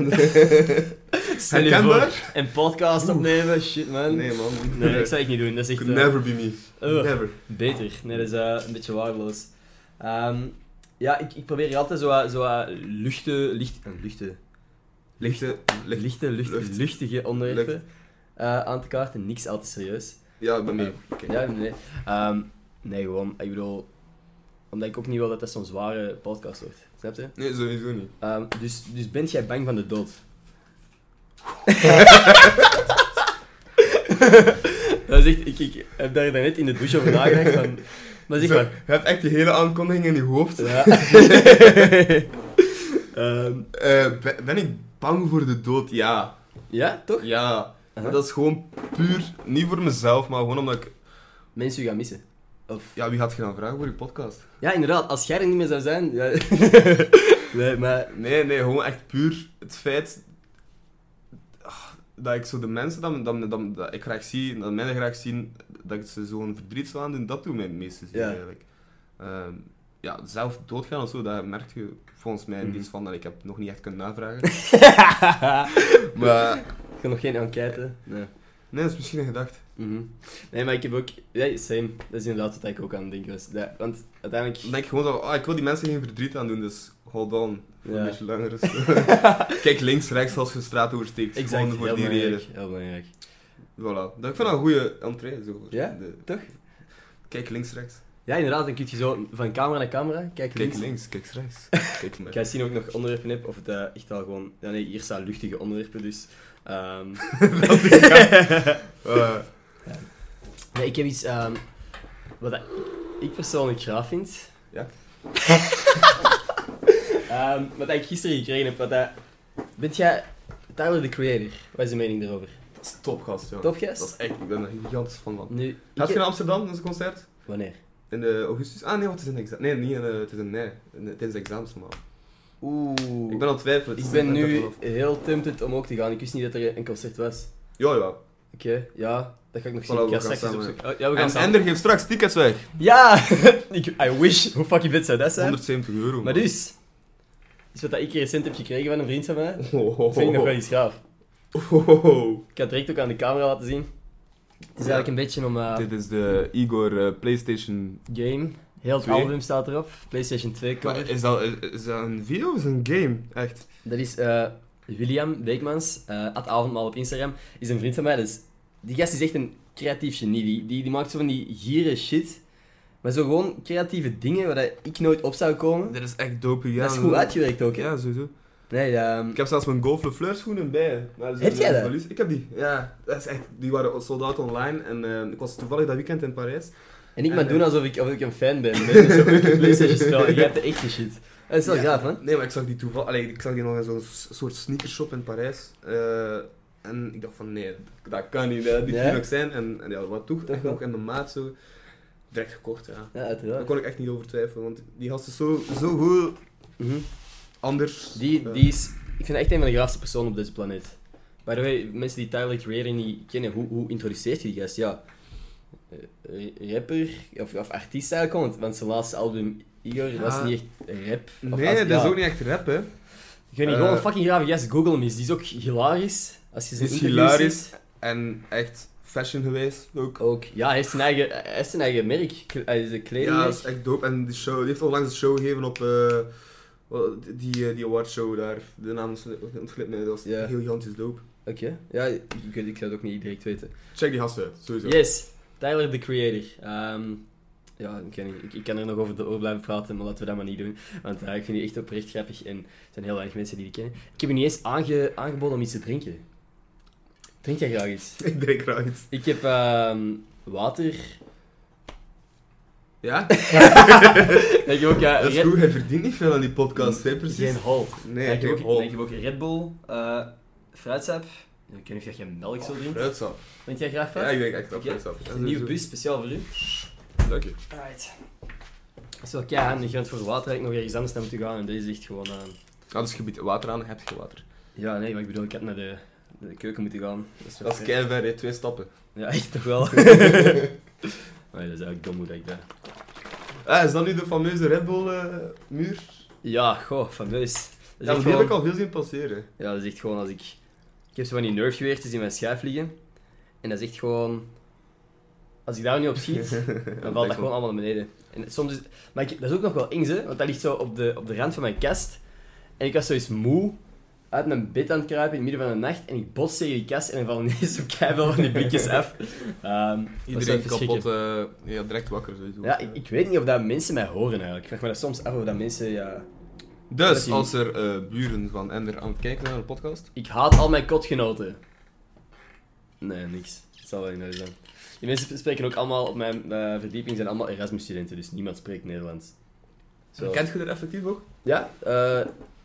Stel je
Herkenbaar?
voor, Een podcast opnemen, shit man. Nee,
nee man,
dat zou ik niet doen. Dat is echt...
could
eh,
never be me.
ugh,
Never.
beter. Nee, dat is eh, een beetje waardeloos. Ehm, ja, ik, ik probeer hier altijd zo, wat- zo wat luchte, licht, eh, luchte,
Lichte, licht,
lichte, lucht-
lucht.
luchtige onderwerpen eh, aan te kaarten. Niks al te serieus.
Ja, bij mij.
Ja, nee. Ehm, nee, gewoon, ik bedoel, omdat ik ook niet wil dat dat zo'n zware podcast wordt. Snap Snap je?
Nee, sowieso niet.
Ehm, dus, dus bent jij bang van de dood? dat is echt, ik, ik heb daar net in de douche over nagedacht. Van, dat is echt
Zo,
waar.
Je hebt echt die hele aankondiging in je hoofd.
Ja. Ehm,
Eh, ben, ben ik bang voor de dood? Ja.
ja, toch?
Ja.
Uh-huh.
Maar dat is gewoon puur, niet voor mezelf, maar gewoon omdat ik...
Mensen u gaan missen. Of...
Ja, wie gaat je dan vragen voor je podcast?
Ja, inderdaad, als jij er niet meer zou zijn. Ja... nee, maar.
Nee, nee, gewoon echt puur het feit... ah, Dat ik zo de mensen dat, dat, dat, dat ik graag zie, dat mensen graag zien, dat ik ze zo'n verdriet zou aandoen, dat doet mij het meeste zeer
Ja.
eigenlijk. Ehm, ja, zelf doodgaan of zo, daar merk je volgens mij
Mhm.
niets van dat ik heb nog niet echt kunnen navragen. maar
ik kan nog geen enquête. Nee.
nee, dat is misschien een gedachte.
Mhm. Nee, maar ik heb ook. Ja, same. Dat is inderdaad wat ik ook aan het denken was. Ja, want uiteindelijk.
Dan denk ik gewoon zo, ah, ik wil die mensen geen verdriet aan doen, dus hold on. Voor
Ja.
een beetje langer. is- Kijk links, rechts als je straat oversteekt.
Exact,
gewoon voor
heel
die
belangrijk.
reden.
Heel belangrijk.
Voilà. Dat, ik vind dat een goede entree. Zo.
Ja?
De-
Toch?
kijk links, rechts.
Ja, inderdaad, dan kun je zo van camera naar camera kijken.
Kijk links, kijk rechts. kijk
Ik
naar.
ga zien of ik nog onderwerpen heb, of het eh, echt al gewoon... Ja, nee, hier staan luchtige onderwerpen, dus... ehm.
Dat is ja. Eh,
Nee, ik heb iets... ehm, wat dat- ik persoonlijk graag vind.
Ja.
Ehm, wat ik gisteren gekregen heb, wat dat... Bent jij Tyler, the Creator? Wat is je mening daarover?
dat is topgast, joh.
Topgast?
Dat is echt, ik ben er gigantisch fan van.
Nu... ik
Gaat je
heb-
naar Amsterdam, dat is een concert?
Wanneer?
In eh, augustus? Ah nee, wat is een examen? Nee, niet, in, eh, het is een nee. In- Het is examensmaal.
Oeh...
Ik ben aan het twijfelen. het
Ik
is
ben
net
nu
dat-
heel tempted om ook te gaan. Ik wist niet dat er een concert was.
Ja, ja.
Oké, ja. Dat ga ik nog zien.
Voilà,
ik ga
we gaan
straks eens
samen.
opzoeken. Oh, ja, we gaan
En
samen.
Ender geeft straks tickets weg.
Ja! ik, I wish. Hoe fucking vet zou dat zijn?
170 euro.
Maar
man.
dus... Is wat dat ik recent heb gekregen van een vriend van mij. Dat
Oh, oh, oh,
vind ik nog wel iets gaaf.
oh, oh, oh.
Ik ga het direct ook aan de camera laten zien. Het is eigenlijk een beetje om... eh,
Dit is de Igor eh, PlayStation.
game. Heel het
Twee.
album staat erop. PlayStation 2 cover.
Maar is dat, is, is dat een video of is dat een game? Echt?
Dat is eh, William Beekmans, eh at avondmaal op Instagram, is een vriend van mij. Dus die gast is echt een creatief genie. Die, die, die maakt zo van die giere shit. Maar zo gewoon creatieve dingen waar dat ik nooit op zou komen.
Dit is echt dope, ja.
dat is goed uitgewerkt ook, hè?
Ja, sowieso.
Nee, ehm,
Ik heb zelfs mijn Golf Fleur schoenen bij. Maar ze
Heb
zijn
jij dat?
verlies- Ik heb die, ja. Dat is echt, die waren sold out online en eh, ik was toevallig dat weekend in Parijs.
en ik
En,
maar
eh,
doen alsof ik, of ik een fan ben. Nee, dat is ook een PlayStation-spel. Jij hebt de echte shit. Dat is wel
Ja.
gaaf, man.
Nee, maar ik zag die toevallig, allee, ik zag die nog in zo'n s- soort sneakershop in Parijs. Eh, en ik dacht van nee, dat kan niet, hè. die
Ja?
moet nog zijn. En, en ja, wat toch?
Toch
Echt
wel?
nog in de maat zo. Direct gekocht, ja.
Ja,
Daar
uiteraard.
kon ik echt niet over twijfelen, want die gast is zo, zo goed
Mhm.
anders.
Die,
Eh,
die is, ik vind dat echt een van de graafste personen op deze planeet. By the way, mensen die Tyler the Creator niet kennen, hoe, hoe introduceert je die gast? Ja, eh, rapper of, of artiest eigenlijk, want, want zijn laatste album, Igor, was
Ja.
niet echt rap. Of
Nee,
als-
dat
ja.
is ook niet echt rap, hè.
Ik weet niet, gewoon een
Eh.
fucking grave gast, Google hem eens. Die is ook hilarisch. Als je zijn
Is
interviews
hilarisch.
ziet.
En echt fashion geweest ook.
Ook. Ja, hij heeft zijn eigen, hij heeft zijn eigen merk. K- Hij is een
Ja,
kledingmerk.
dat is echt dope. En die, show, die heeft onlangs een show gegeven op eh, wel, die, eh, die awardshow daar. De naam is ontglipt mij, dat was
Ja.
heel gigantisch dope.
Oké. Ja, ik, weet, ik zou het ook niet direct weten.
Check die gast uit, sowieso.
Yes, Tyler the Creator. Ehm, ja, ik, ken, ik, ik kan er nog over door blijven praten, maar laten we dat maar niet doen. Want eh, ik vind die echt oprecht grappig en er zijn heel weinig mensen die die kennen. Ik heb je niet eens aange, aangeboden om iets te drinken. Drink jij graag iets?
Ik drink graag iets.
Ik heb ehm, water.
Ja?
Ik heb ook eh,
dat is
Red-
goed, hij verdient niet veel aan die podcast, hè, precies.
Geen hal.
Nee,
ik, heb ook,
geen hol.
ik heb ook Red Bull, eh fruitsap. Ik weet niet of jij melk zou drinken.
Fruitsap.
Drink jij graag
Oh, Ja,
fruit?
ik denk echt dat
Ja.
fruitsap. Ja,
Een nieuwe
sowieso.
bus, speciaal voor u.
Dank je.
Alright. Dat is wel keihandig, want voor water heb ik nog ergens anders naar moeten gaan en deze is echt gewoon... eh,
Ah, dus je biedt water aan, heb je water.
Ja, nee, maar ik bedoel, ik had naar de, naar de keuken moeten gaan. is wel
Dat is
fair.
kei ver, hè. twee stappen.
Ja, echt toch wel. nee, dat is eigenlijk dom hoe dat ik dat...
Ah, is dat nu de fameuze Red Bull eh, muur?
Ja, goh, fameus. Dat is
Ja,
echt
want die heb ik
gewoon-
al veel zien passeren.
Ja, dat is echt gewoon als ik... Ik heb zo van die nerfgeweertjes in mijn schijf liggen. En dat is echt gewoon... Als ik daar nu op schiet, dan valt dat gewoon allemaal naar beneden. En soms is... Maar ik- dat is ook nog wel eng, hè? Want dat ligt zo op de, op de rand van mijn kast. En ik was zoiets moe uit mijn bed aan het kruipen in het midden van de nacht. En ik bots tegen die kast en er vallen ineens zo keihard van die blikjes af. Ehm, dat is wel
Iedereen
verschrikkelijk.
kapot, eh, ja, direct wakker sowieso.
Ja, ik, ik weet niet of dat mensen mij horen eigenlijk. Ik vraag me dat soms af of dat mensen ja, Dat
Dus,
is
als er eh, buren van Ender aan het kijken zijn naar de podcast...
Ik haat al mijn kotgenoten. Nee, niks. Het zal wel in zijn. Die mensen spreken ook allemaal op mijn eh, verdieping, zijn allemaal Erasmus-studenten, dus niemand spreekt Nederlands. Zo.
Kent je er effectief ook?
Ja, eh,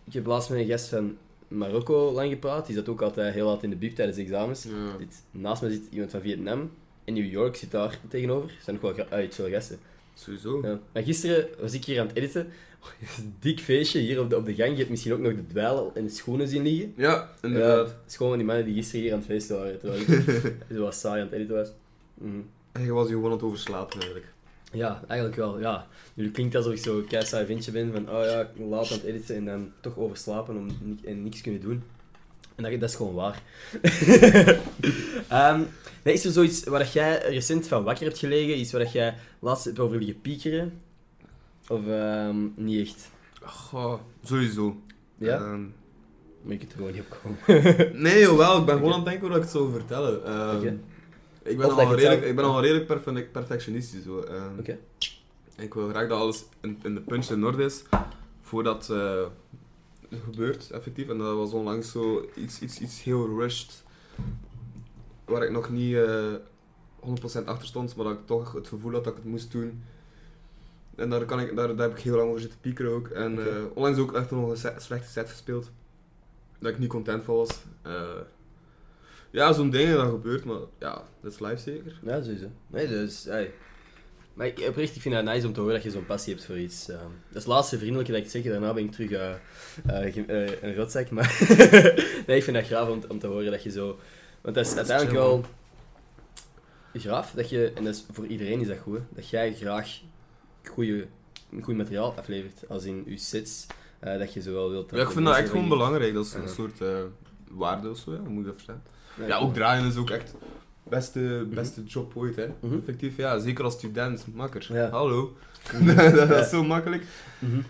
ik heb laatst met een gast van Marokko lang gepraat. Die zat ook altijd heel laat in de biep tijdens examens.
Ja.
Dit, naast me zit iemand van Vietnam. In New York zit daar tegenover. Er zijn nog wel gra- ah, iets veel gasten.
Sowieso.
Ja. Maar gisteren was ik hier aan het editen. Dik feestje hier op de, op de gang. Je hebt misschien ook nog de dweil en de schoenen zien liggen.
Ja,
Ja,
inderdaad.
het is gewoon van die mannen die gisteren hier aan het feesten waren, terwijl ik zo wat saai aan het editen was. Mhm.
En je was hier gewoon aan het overslapen eigenlijk.
Ja, eigenlijk wel, ja. Nu het klinkt alsof ik zo'n kei saai ventje ben, van oh ja, ik ben laat aan het editen en dan toch overslapen om ni- en niks kunnen doen. En dat, dat is gewoon waar. Ehm, nee, is er zoiets waar dat jij recent van wakker hebt gelegen? Iets waar dat jij laatst hebt over liggen piekeren? Of ehm, niet echt?
Goh, sowieso.
Ja?
Ehm,
Maar ik heb er gewoon niet op komen.
nee, jawel, ik ben gewoon
Oké.
aan het denken hoe ik het zou vertellen. Ehm,
Oké.
ik,
Of
ben
dat
al
je het
redelijk,
zou-
ik ben al redelijk perfe- perfectionistisch. Zo. Ehm,
Oké.
Ik wil graag dat alles in, in de punch in orde is voordat eh, het gebeurt, effectief. En dat was onlangs zo iets, iets, iets heel rushed, waar ik nog niet eh 100% achter stond, maar dat ik toch het gevoel had dat ik het moest doen. En daar, kan ik, daar, daar heb ik heel lang over zitten piekeren ook. En
Oké.
eh, onlangs ook echt nog een se- slechte set gespeeld, dat ik niet content van was. Eh, ja, zo'n ding dat gebeurt, maar ja, dat is live zeker.
Ja, sowieso. Nee, dus... ey. Maar ik, oprecht, ik vind het nice om te horen dat je zo'n passie hebt voor iets. ehm. dat is het laatste vriendelijke dat ik zeg. Daarna ben ik terug eh, eh, ge- eh, een rotzak. Maar nee, ik vind dat graaf om, te- om te horen dat je zo... Want dat is uiteindelijk
chill,
wel... Graaf dat je... En dat is, voor iedereen is dat goed, hè, Dat jij graag goede, goed materiaal aflevert. Als in je sets. eh, dat je zo wel wilt...
Ja, ik vind dat echt gewoon belangrijk, dat is
Ja.
een soort eh, waarde of zo, ja. hoe moet ik dat verstaan?
Ja,
Ja,
cool.
ook draaien is ook echt beste, beste job ooit, hè.
Mhm.
Effectief, ja. Zeker als student, makker.
Ja. Mhm.
Hallo. dat
Ja.
is zo makkelijk.
Mhm.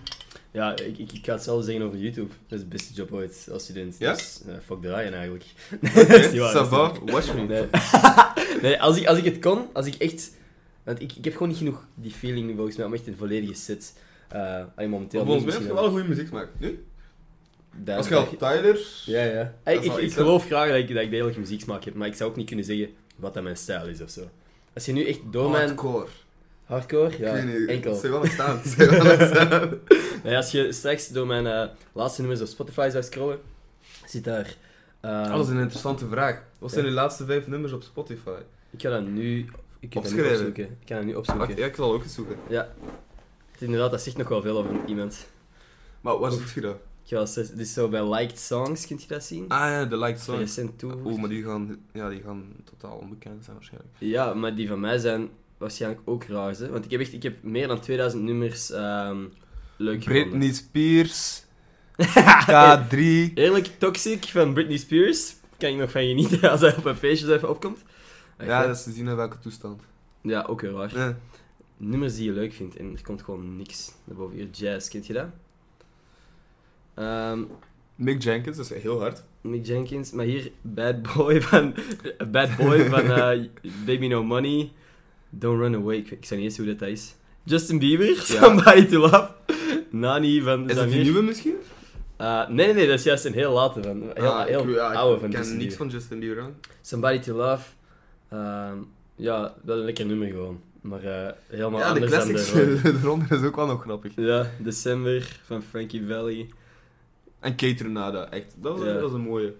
Ja, ik, ik, ik ga het zelf zeggen over YouTube. Dat is de beste job ooit als student.
Ja?
Dus, eh, fuck draaien eigenlijk.
Oké,
niet waar,
ça
dat is
va,
niet
watch me.
Nee, nee als, ik, als ik het kon, als ik echt... Want ik, ik heb gewoon niet genoeg die feeling volgens mij om echt een volledige set... eh alleen momenteel...
Volgens mij heb
misschien
je wel goede muziek gemaakt. Nu?
daar-
Als je al Tyler...
Ja, ja.
Dat is
Ik, ik,
wel
ik
iets, hè?
geloof graag dat ik, dat ik degelijk muzieksmaak heb, maar ik zou ook niet kunnen zeggen wat dat mijn stijl is of zo. Als je nu echt door mijn...
Hardcore.
Hardcore? Ja,
Oh, ik weet niet.
enkel.
Ze wel staan. Ze wel staan.
Nee, als je straks door mijn eh, laatste nummers op Spotify zou scrollen, zit daar... eh,
Dat is een interessante vraag. Wat zijn
Ja.
de laatste vijf nummers op Spotify?
Ik ga dat nu, ik kan dat nu
Opschrijven.
opzoeken. Ik kan dat nu
Wacht,
opzoeken.
ja, ik zal ook eens zoeken.
Ja. Het, inderdaad, dat zegt nog wel veel over iemand.
Maar waar zit je dat?
Ik ga dat, dit is zo bij liked songs, kunt je dat zien?
Ah ja, de Liked
Van
Songs.
recent toe.
Oeh, maar die gaan, ja, die gaan totaal onbekend zijn waarschijnlijk.
Ja, maar die van mij zijn waarschijnlijk ook raar, hè? Want ik heb echt, ik heb meer dan 2000 nummers ehm leuk gevonden.
Britney Spears. K3.
Eerlijk, Toxic van Britney Spears. Kan ik nog van genieten als hij op een feestje zo even opkomt. Echt,
Ja,
hè?
dat is te zien in welke toestand.
ja, ook weer raar.
Ja.
nummers die je leuk vindt en er komt gewoon niks naar boven. Hier, jazz, kent je dat? Ehm,
Mick Jenkins, dat is heel hard.
Mick Jenkins, maar hier Bad Boy van, bad boy van eh, Baby No Money. Don't Run Away, ik, ik zou niet eens hoe dat dat is. Justin Bieber, Somebody to Love. Nani van
Is dat die
Zamir.
nieuwe misschien?
Eh, nee, nee, nee, dat is juist een heel late van. Heel,
Ah,
heel
ik- ja, ik
oude van
ken
Justin
niks
Bieber.
van Justin Bieber. hè.
Somebody to Love. Ehm, ja, wel een lekker nummer gewoon. Maar eh, helemaal
ja, de
anders dan
classics
de...
eronder is ook wel nog grappig.
Ja, December van Frankie Valley.
En Kate Renata, echt. Dat was,
Ja.
dat was een mooie.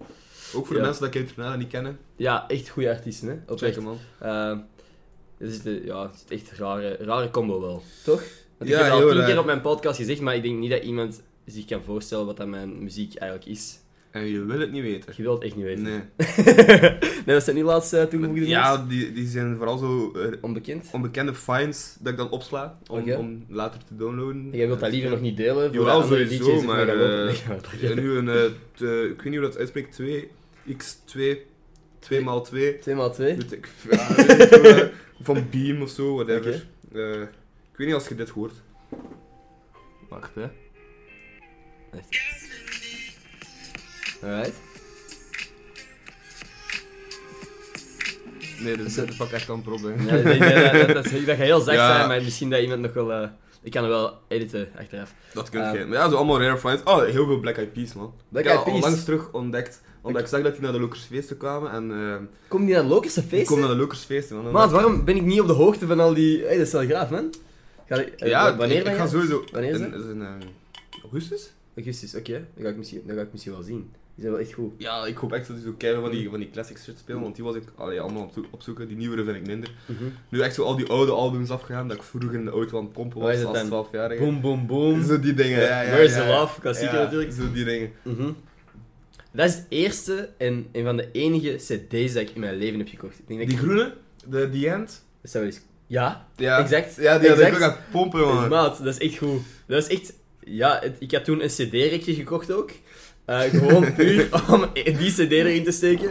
Ook voor
Ja.
de mensen die Kate Renata niet kennen.
Ja, echt goede artiesten, hè?
Check
Oprecht.
hem man.
Ehm, Het is, de, ja, het is echt een rare, rare combo wel, toch? Want ik
Ja,
heb het al
heel
tien keer
raar.
op mijn podcast gezegd, maar ik denk niet dat iemand zich kan voorstellen wat dat mijn muziek eigenlijk is.
En je wil het niet weten.
Je wilt het echt niet weten.
Nee.
nee, wat zijn die laatste toegevoegde
Ja,
nummers?
die, die zijn vooral zo eh,
Onbekend.
onbekende finds dat ik dan opsla om,
Oké.
om later te downloaden.
Jij wilt dat liever nog niet delen? voor
Jawel,
de andere
sowieso,
DJ's,
maar,
dat
eh,
wel- Nee, maar...
Er zijn nu een, eh, t- eh, ik weet niet hoe dat uitspreekt, 2x2, 2x2.
Twee maal twee.
Weet ik, ja, weet ik veel, eh, van Beam of zo, whatever.
Oké.
Eh, ik weet niet als je dit hoort. Wacht, hè.
Alright.
Nee, dit is, dit pak echt aan het proberen.
Ja, ik denk dat, dat, dat, dat, dat gaat heel zacht
Ja.
zijn, maar misschien dat iemand nog wel eh, Ik kan er wel editen achteraf.
Dat kun je.
Ehm.
maar ja, zo allemaal rare finds. Oh, heel veel Black Eyed Peas, man.
Black
ik
Eyed
heb dat
Peas.
onlangs terug ontdekt. Omdat ik zag dat die naar de Lokersfeesten kwamen en... eh,
Kom die naar Lokerse
die komen
feesten?
naar de Lokersfeesten, man. En
Maat,
dat-
waarom ben ik niet op de hoogte van al die... Hey, dat is wel graaf, man. Ga ik- eh,
Ja,
wa- wanneer
ik,
ben
ik ga
jij?
sowieso...
Wanneer is
in-
dat?
is in, eh, augustus?
Augustus, oké. Dan, ga ik misschien- dan ga ik misschien wel zien. Die zijn wel echt goed.
Ja, ik hoop echt dat die zo keihard van die, van die classic shit spelen, want die was ik allee, allemaal op, zoek- op zoeken. Die nieuwere vind ik minder. Nu echt zo al die oude albums afgegaan, dat ik vroeger in de auto aan het pompen
Waar is
was
het
als
dan?
12 jaar.
Boom, boom, boom.
Zo die dingen, ja, ja,
Where's
ja,
the
ja.
Love? Klassieker
Ja,
natuurlijk.
Zo die dingen.
Mhm. Dat is het eerste en een van de enige cd's dat ik in mijn leven heb gekocht. Ik denk dat
Die
ik-
groene? De The End?
dat zou wel eens... Ja,
Ja.
exact.
Ja, die had ik
exact.
ook aan het pompen, man.
Maat, dat is echt goed. Dat is echt... Ja, het- ik had toen een cd-rekje gekocht ook. Eh, gewoon puur om die cd erin te steken.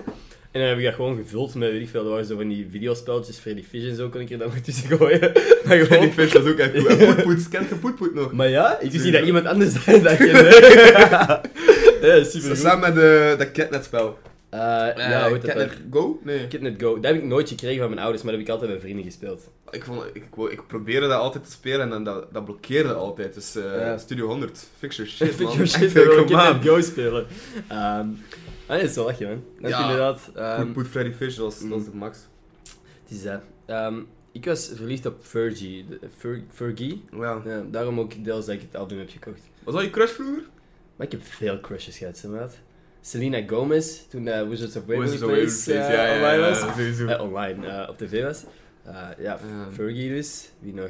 En dan heb ik dat gewoon gevuld met, weet ik veel, er waren zo van die videospelletjes, Freddy Fish en zo, kon ik er dan goed tussen gooien. Maar
En
gewoon...
ik vind dat ook echt cool. En Poetpoets, kent je Poetpoet nog?
Maar ja, ik zie
Tuurlijk.
dat iemand anders dat dat kende. ja, super
Samen met eh, dat catnet-spel.
ja, hoe heet dat ook?
Catnet Go? Nee.
Kidnet Go. Dat heb ik nooit gekregen van mijn ouders, maar dat heb ik altijd bij vrienden gespeeld.
Ik, vond, ik, wou- ik probeerde dat altijd te spelen en dan, dat, dat blokkeerde altijd. Dus eh,
Ja.
Studio 100, fix your shit,
Vind
man.
je wel shit
Echt,
dat
eh,
we
come
Kidnet
on.
Go spelen. Ehm ah, dat is wel lachje, man. Dat
Ja.
heb je inderdaad.
Poet,
ehm
Poet Freddy Fish, dat was, dat was de max.
het is dat. Ehm, ik was verliefd op Fergie. de- Fer- Fergie?
Ja.
Ja, daarom ook deels dat ik het album heb gekocht.
Was dat je crush vroeger?
Maar ik heb veel crushes gehad, zeg maar. Selena Gomez, toen eh, Wizards of Waverly
Wizards
Place,
of Waverly
eh,
Place, ja, ja,
online
ja,
was.
ja, sowieso.
Eh, online, eh, op tv was. Eh, ja,
Ja.
Fergie dus. Wie nog?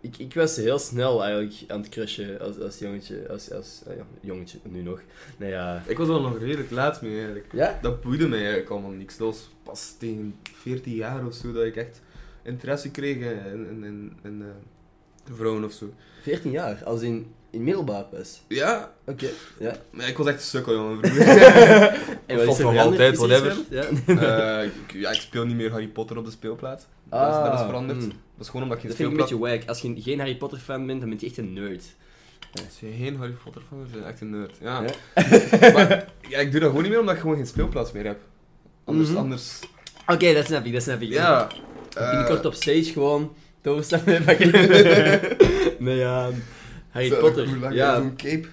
Ik, ik was heel snel eigenlijk aan het crushen als, als jongetje. Als, als, ah ja, jongetje, nu nog. Nee, ja.
Ik was wel nog redelijk laat mee eigenlijk.
Ja?
Dat boeide mij eigenlijk allemaal niks. Dat was pas tegen 14 jaar of zo dat ik echt interesse kreeg eh, in, in, in, in eh, vrouwen of zo.
14 jaar, als in, in middelbaar pas.
Ja,
Oké, ja.
maar ik was echt een sukkel, jongen. vroeger.
En wat
Of
is er
nog
veranderd?
altijd,
Is er
whatever.
iets veranderd? Ja.
Eh, ik- ja, ik speel niet meer Harry Potter op de speelplaats. dat, is, dat is
Ah,
veranderd.
mm.
Dat is gewoon omdat ik geen
Dat vind ik een
speelplaats...
beetje wack. Als je geen Harry Potter fan bent, dan ben je echt een nerd.
Als je geen Harry Potter fan bent, ben je echt een nerd. Ja.
Ja.
maar ja, ik doe dat gewoon niet meer omdat ik gewoon geen speelplaats meer heb. Anders,
Mhm.
anders...
Oké, dat snap ik, dat snap ik.
Ja.
Binnenkort
eh,
op stage gewoon toverstaan met pakket. nee, ja. Harry
zo, hoe
Potter.
lang
Ja.
Zo'n cape.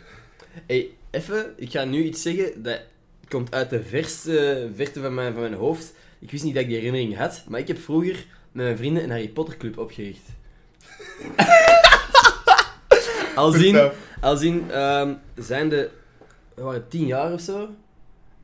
Hey, even, ik ga nu iets zeggen dat komt uit de verste verte van mijn, van mijn hoofd. Ik wist niet dat ik die herinnering had, maar ik heb vroeger met mijn vrienden een Harry Potter club opgericht. al zien,
Vertel.
al zien ehm, zijn de, we waren tien jaar of zo.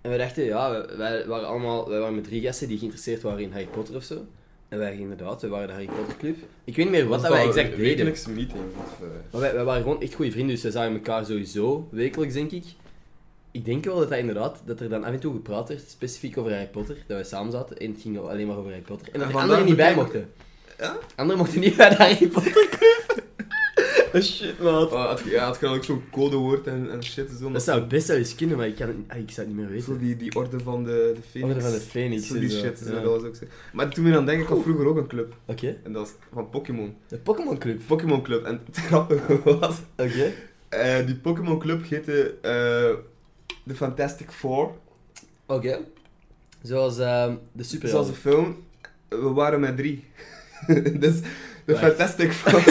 En we dachten, ja, wij, wij waren allemaal, wij waren met drie gasten die geïnteresseerd waren in Harry Potter of zo. En wij gingen inderdaad, we waren de Harry Potter club. Ik weet niet meer wat dat wij
Was
exact
een
deden.
wekelijkse meeting. Of, eh,
Maar wij, wij waren gewoon echt goede vrienden, dus we zagen elkaar sowieso wekelijks, denk ik. Ik denk wel dat dat inderdaad, dat er dan af en toe gepraat werd, specifiek over Harry Potter, dat wij samen zaten en het ging alleen maar over Harry Potter. En dat
En
de
vandaar
anderen niet bij
meteen-
mochten.
Ja?
Anderen mochten niet bij de Harry Potter club. Shit, man.
oh, had, je- ja, had je dan ook zo'n codewoord en, en shit. Zo,
Dat zou best wel eens kunnen, maar ik, kan het, ah, ik zou het niet meer
Zo
weten.
die, die orde van de, de Phoenix.
Orde van de Phoenix
Zo
en
die
zo,
shit. zo,
ja.
dat was ook zo. Maar toen we dan denk ik had vroeger ook een club.
Oké,
En dat was van Pokémon.
de Pokémon Club.
Pokémon Club. En het grappige was...
Oké.
eh, die Pokémon Club heette eh de Fantastic Four.
Oké. Zoals ehm, de super.
Zoals de film. We waren met drie. dus de
Wacht.
Fantastic Four.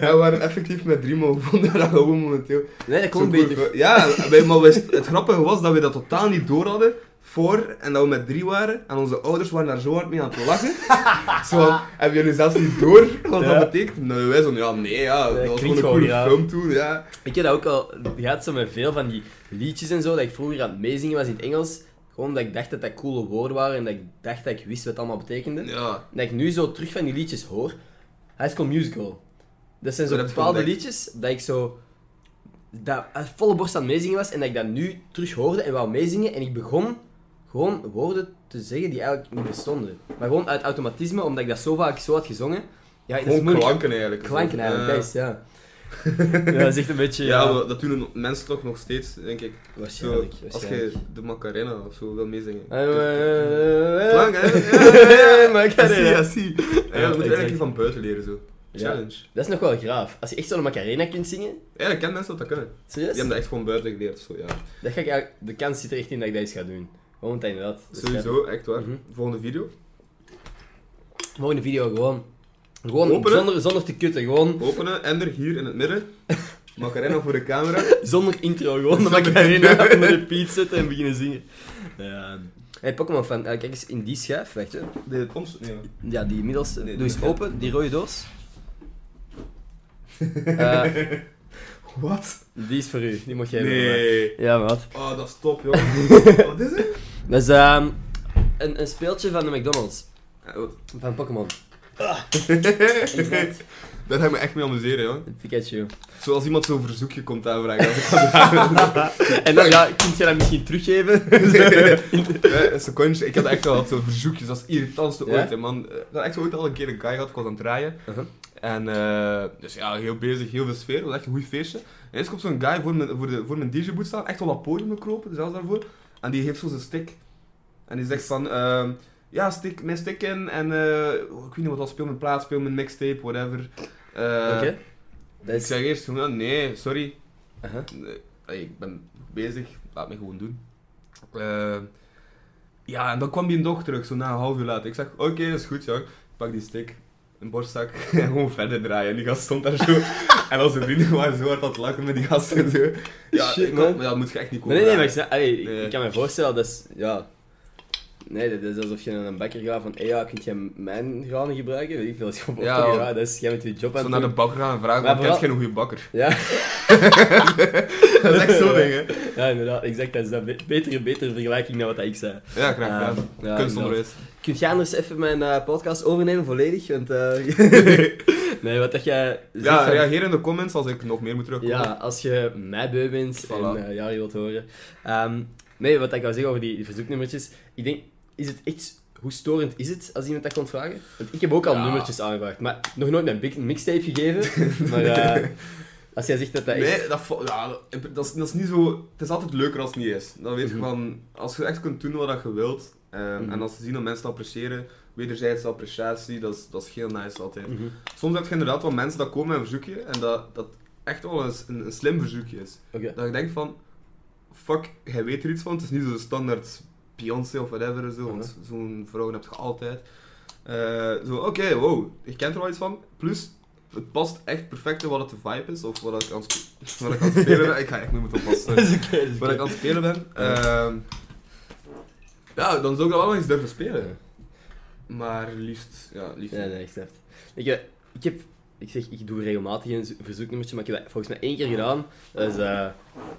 we waren effectief met drie, maar we vonden dat gewoon momenteel
Nee, dat
Zo'n
komt
goeie
beter.
vrouw. Ja, wij- maar wij- het grappige was dat we dat totaal niet door hadden. Voor en dat we met drie waren. En onze ouders waren daar zo hard mee aan het lachen. zo, van, hebben jullie zelfs niet door wat
Ja.
dat betekent? Nou, wij zo, ja, nee, ja,
Nee,
dat was
klinkt
gewoon een coole
gewoon, ja.
film toen. Ja.
Ik heb dat ook al gehad zo met veel van die liedjes en zo, dat ik vroeger aan het meezingen was in het Engels. Gewoon omdat ik dacht dat dat coole woorden waren en dat ik dacht dat ik wist wat het allemaal betekende.
ja.
Dat ik nu zo terug van die liedjes hoor. High School Musical. Dat zijn zo
Dat heb je
bepaalde
ontdekt.
liedjes dat ik zo... Dat uit volle borst aan het meezingen was en dat ik dat nu terug hoorde en wou meezingen. En ik begon gewoon woorden te zeggen die eigenlijk niet bestonden. Maar gewoon uit automatisme, omdat ik dat zo vaak zo had gezongen. Ja, dat is
Gewoon
moeilijk.
klanken eigenlijk.
Klanken eigenlijk,
Ja.
dat is, ja. ja, dat is echt een beetje...
Ja,
ja,
maar dat doen mensen toch nog steeds, denk ik. Zo,
waarschijnlijk.
als
waarschijnlijk. Eh,
je de Macarena of zo wil meezingen. Klank,
Klank,
hè? Ja, ja, ja.
maar
Ja, zie, ja, zie. Ja, dat moet je
exact.
eigenlijk van buiten leren, zo.
Ja.
Challenge.
Dat is nog wel graaf. Als je echt zo'n Macarena kunt zingen,
Eigenlijk kennen mensen dat dat kunnen.
serieus?
Die hebben dat echt gewoon buiten geleerd, zo, ja.
dat ga ik eigenlijk- de kans zit er echt in dat ik dat eens ga doen. Gewoon want dat inderdaad. Dus dat is
Sowieso, echt waar.
Mhm.
Volgende video.
grappig. Volgende video gewoon Gewoon
Openen.
zonder, zonder te kutten, gewoon
Openen, ender hier in het midden. Macarena voor de camera.
zonder intro. Gewoon de
Zonder
Macarena
intro.
onder de piet zetten en beginnen zingen. Ja. Hey, Pokémon fan, eh, kijk eens in die schijf, wacht hè.
De komst nemen.
Ja, die middelste.
Nee,
Doe eens
dat kan.
open, die rode doos. Eh,
Wat?
die is voor u, die mag jij hebben.
Nee.
Ja, wat?
Oh, dat is top, joh. wat is het?
Dat is ehm, een, een speeltje van de McDonald's.
Ja, wat?
Van Pokémon.
Daar ga ik me echt mee amuseren, joh.
Pikachu.
Zoals iemand zo'n verzoekje komt aanvragen. Als ik
En dan ja, kun je dat misschien teruggeven?
Hè, Eh, een secondje. Ik had echt al zo'n verzoekjes, dat is het irritantste
Ja?
ooit, hè, man. Eh, Ik had echt ooit al een keer een guy gehad, ik was aan het draaien.
Uh-huh.
En eh, dus ja, heel bezig, heel veel sfeer, het was echt een goed feestje. En eens komt zo'n guy voor mijn, voor de, voor mijn DJ-boot staan, echt wel op het podium gekropen, zelfs daarvoor. En die heeft zo zijn stick. En die zegt van, ehm, ja, stik mijn stick in en eh, oh, ik weet niet wat, dat, speel mijn plaat, speel mijn mixtape, whatever. Eh,
Oké. Dat
Ik
is...
zeg eerst gewoon, nee, sorry,
Aha.
Nee, allee, ik ben bezig, laat me gewoon doen. Eh, ja, en dan kwam die toch terug, zo na een half uur later. Ik zeg, oké, dat is goed, jong. Ik pak die stick, een borstzak, en gewoon verder draaien. En die gast stond daar zo. en onze vrienden waren zo hard aan het lachen met die gasten. Zo. Ja,
Shit,
ik-
man.
maar dat moet je echt niet komen.
Nee, nee, nee, maar ik, snap-
draaien.
allee, ik-
Nee.
ik kan me voorstellen, dat is... Ja. Nee, dat is alsof je naar een bakker gaat van, hey, ja, kun jij mijn granen gebruiken? Weet ik veel, dat is gewoon
Ja,
ja,
man.
dat is, jij met je job aan het
Zo naar de
doen.
bakker gaan en vragen,
Maar
want ik heb
vooral-
geen goede bakker.
Ja.
dat is echt zo'n ding, hè.
ja, inderdaad, exact, dat is dat Be- betere, betere vergelijking dan wat dat ik zei.
Ja, graag
Ehm,
gedaan.
ja,
Kunstonderwijs.
Kun jij anders even mijn eh, podcast overnemen, volledig? Want, eh, nee, wat dat jij... zegt
Ja,
van-
reageer in de comments als ik nog meer moet terugkomen.
Ja, als je mij beu bent
Voilà.
en eh, ja, je wilt horen. Ehm, nee, wat ik wou zeggen over die, die verzoeknummertjes. Ik denk, is het echt... Hoe storend is het als iemand dat komt vragen? Want ik heb ook al
Ja.
nummertjes aangevraagd, maar nog nooit mijn big- mixtape gegeven. maar eh, als jij zegt dat dat echt...
Nee, dat, vo- ja, dat, dat is, dat is niet zo... Het is altijd leuker als het niet is. Dan weet je
Mhm.
van... Als je echt kunt doen wat je wilt, eh,
Mhm.
en als ze zien dat mensen het appreciëren, wederzijdse appreciatie, dat is, dat is heel nice altijd.
Mhm.
Soms heb je inderdaad wel mensen dat komen met een verzoekje, en dat, dat echt wel een, een, een slim verzoekje is.
Oké.
Dat je denkt van... Fuck, hij weet er iets van. Het is niet zo standaard Beyoncé of whatever, zo, want
Mhm.
zo'n vrouw heb je altijd. Eh, zo, oké, wow, je kent er wel iets van. Plus, het past echt perfect in wat het de vibe is, of wat ik aan, het sp- wat ik aan het spelen ben. Ik ga echt niet meer oppassen.
Dat is oké, dat is
Wat ik
oké.
aan het spelen ben. ehm, ja, dan zou ik dat wel eens durven spelen. Maar liefst, ja, liefst.
Nee,
niet.
nee, ik snap het. Ik, eh, ik heb... Ik zeg, ik doe regelmatig een zo- verzoeknummertje, maar ik heb dat volgens mij één keer gedaan. Dat is eh,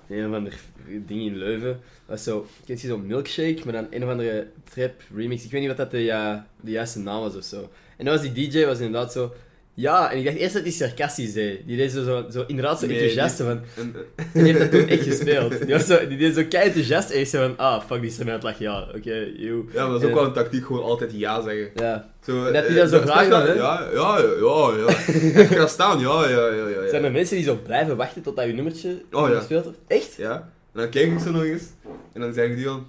een of ander ding in Leuven. Dat is zo, kent je zo'n milkshake, maar dan een of andere trap remix. Ik weet niet wat dat de, ja, de juiste naam was of zo. En dan was die DJ was inderdaad zo... Ja, en ik dacht eerst dat hij sarcastisch zei. Die deed zo, zo, zo inderdaad zo
Nee,
enthousiast.
die-
Van,
En, eh,
en die heeft dat toen echt gespeeld. Die, was zo, die deed zo kei enthousiast. En ik zei van, ah, fuck, die is ermee aan het lachen. Ja, oké, eeuw.
ja, maar dat is ook wel een tactiek, gewoon altijd ja zeggen.
Ja.
Zo,
Dat die
eh,
dat zo graag
staat-
doen, hè?
Ja, ja, ja, ja. ja. Ik ga staan, ja, ja, ja, ja.
Zijn
ja.
er mensen die zo blijven wachten totdat je nummertje
Oh, ja.
gespeeld wordt? Echt?
Ja. En dan kijk ik ze nog eens. En dan zeg ik die al.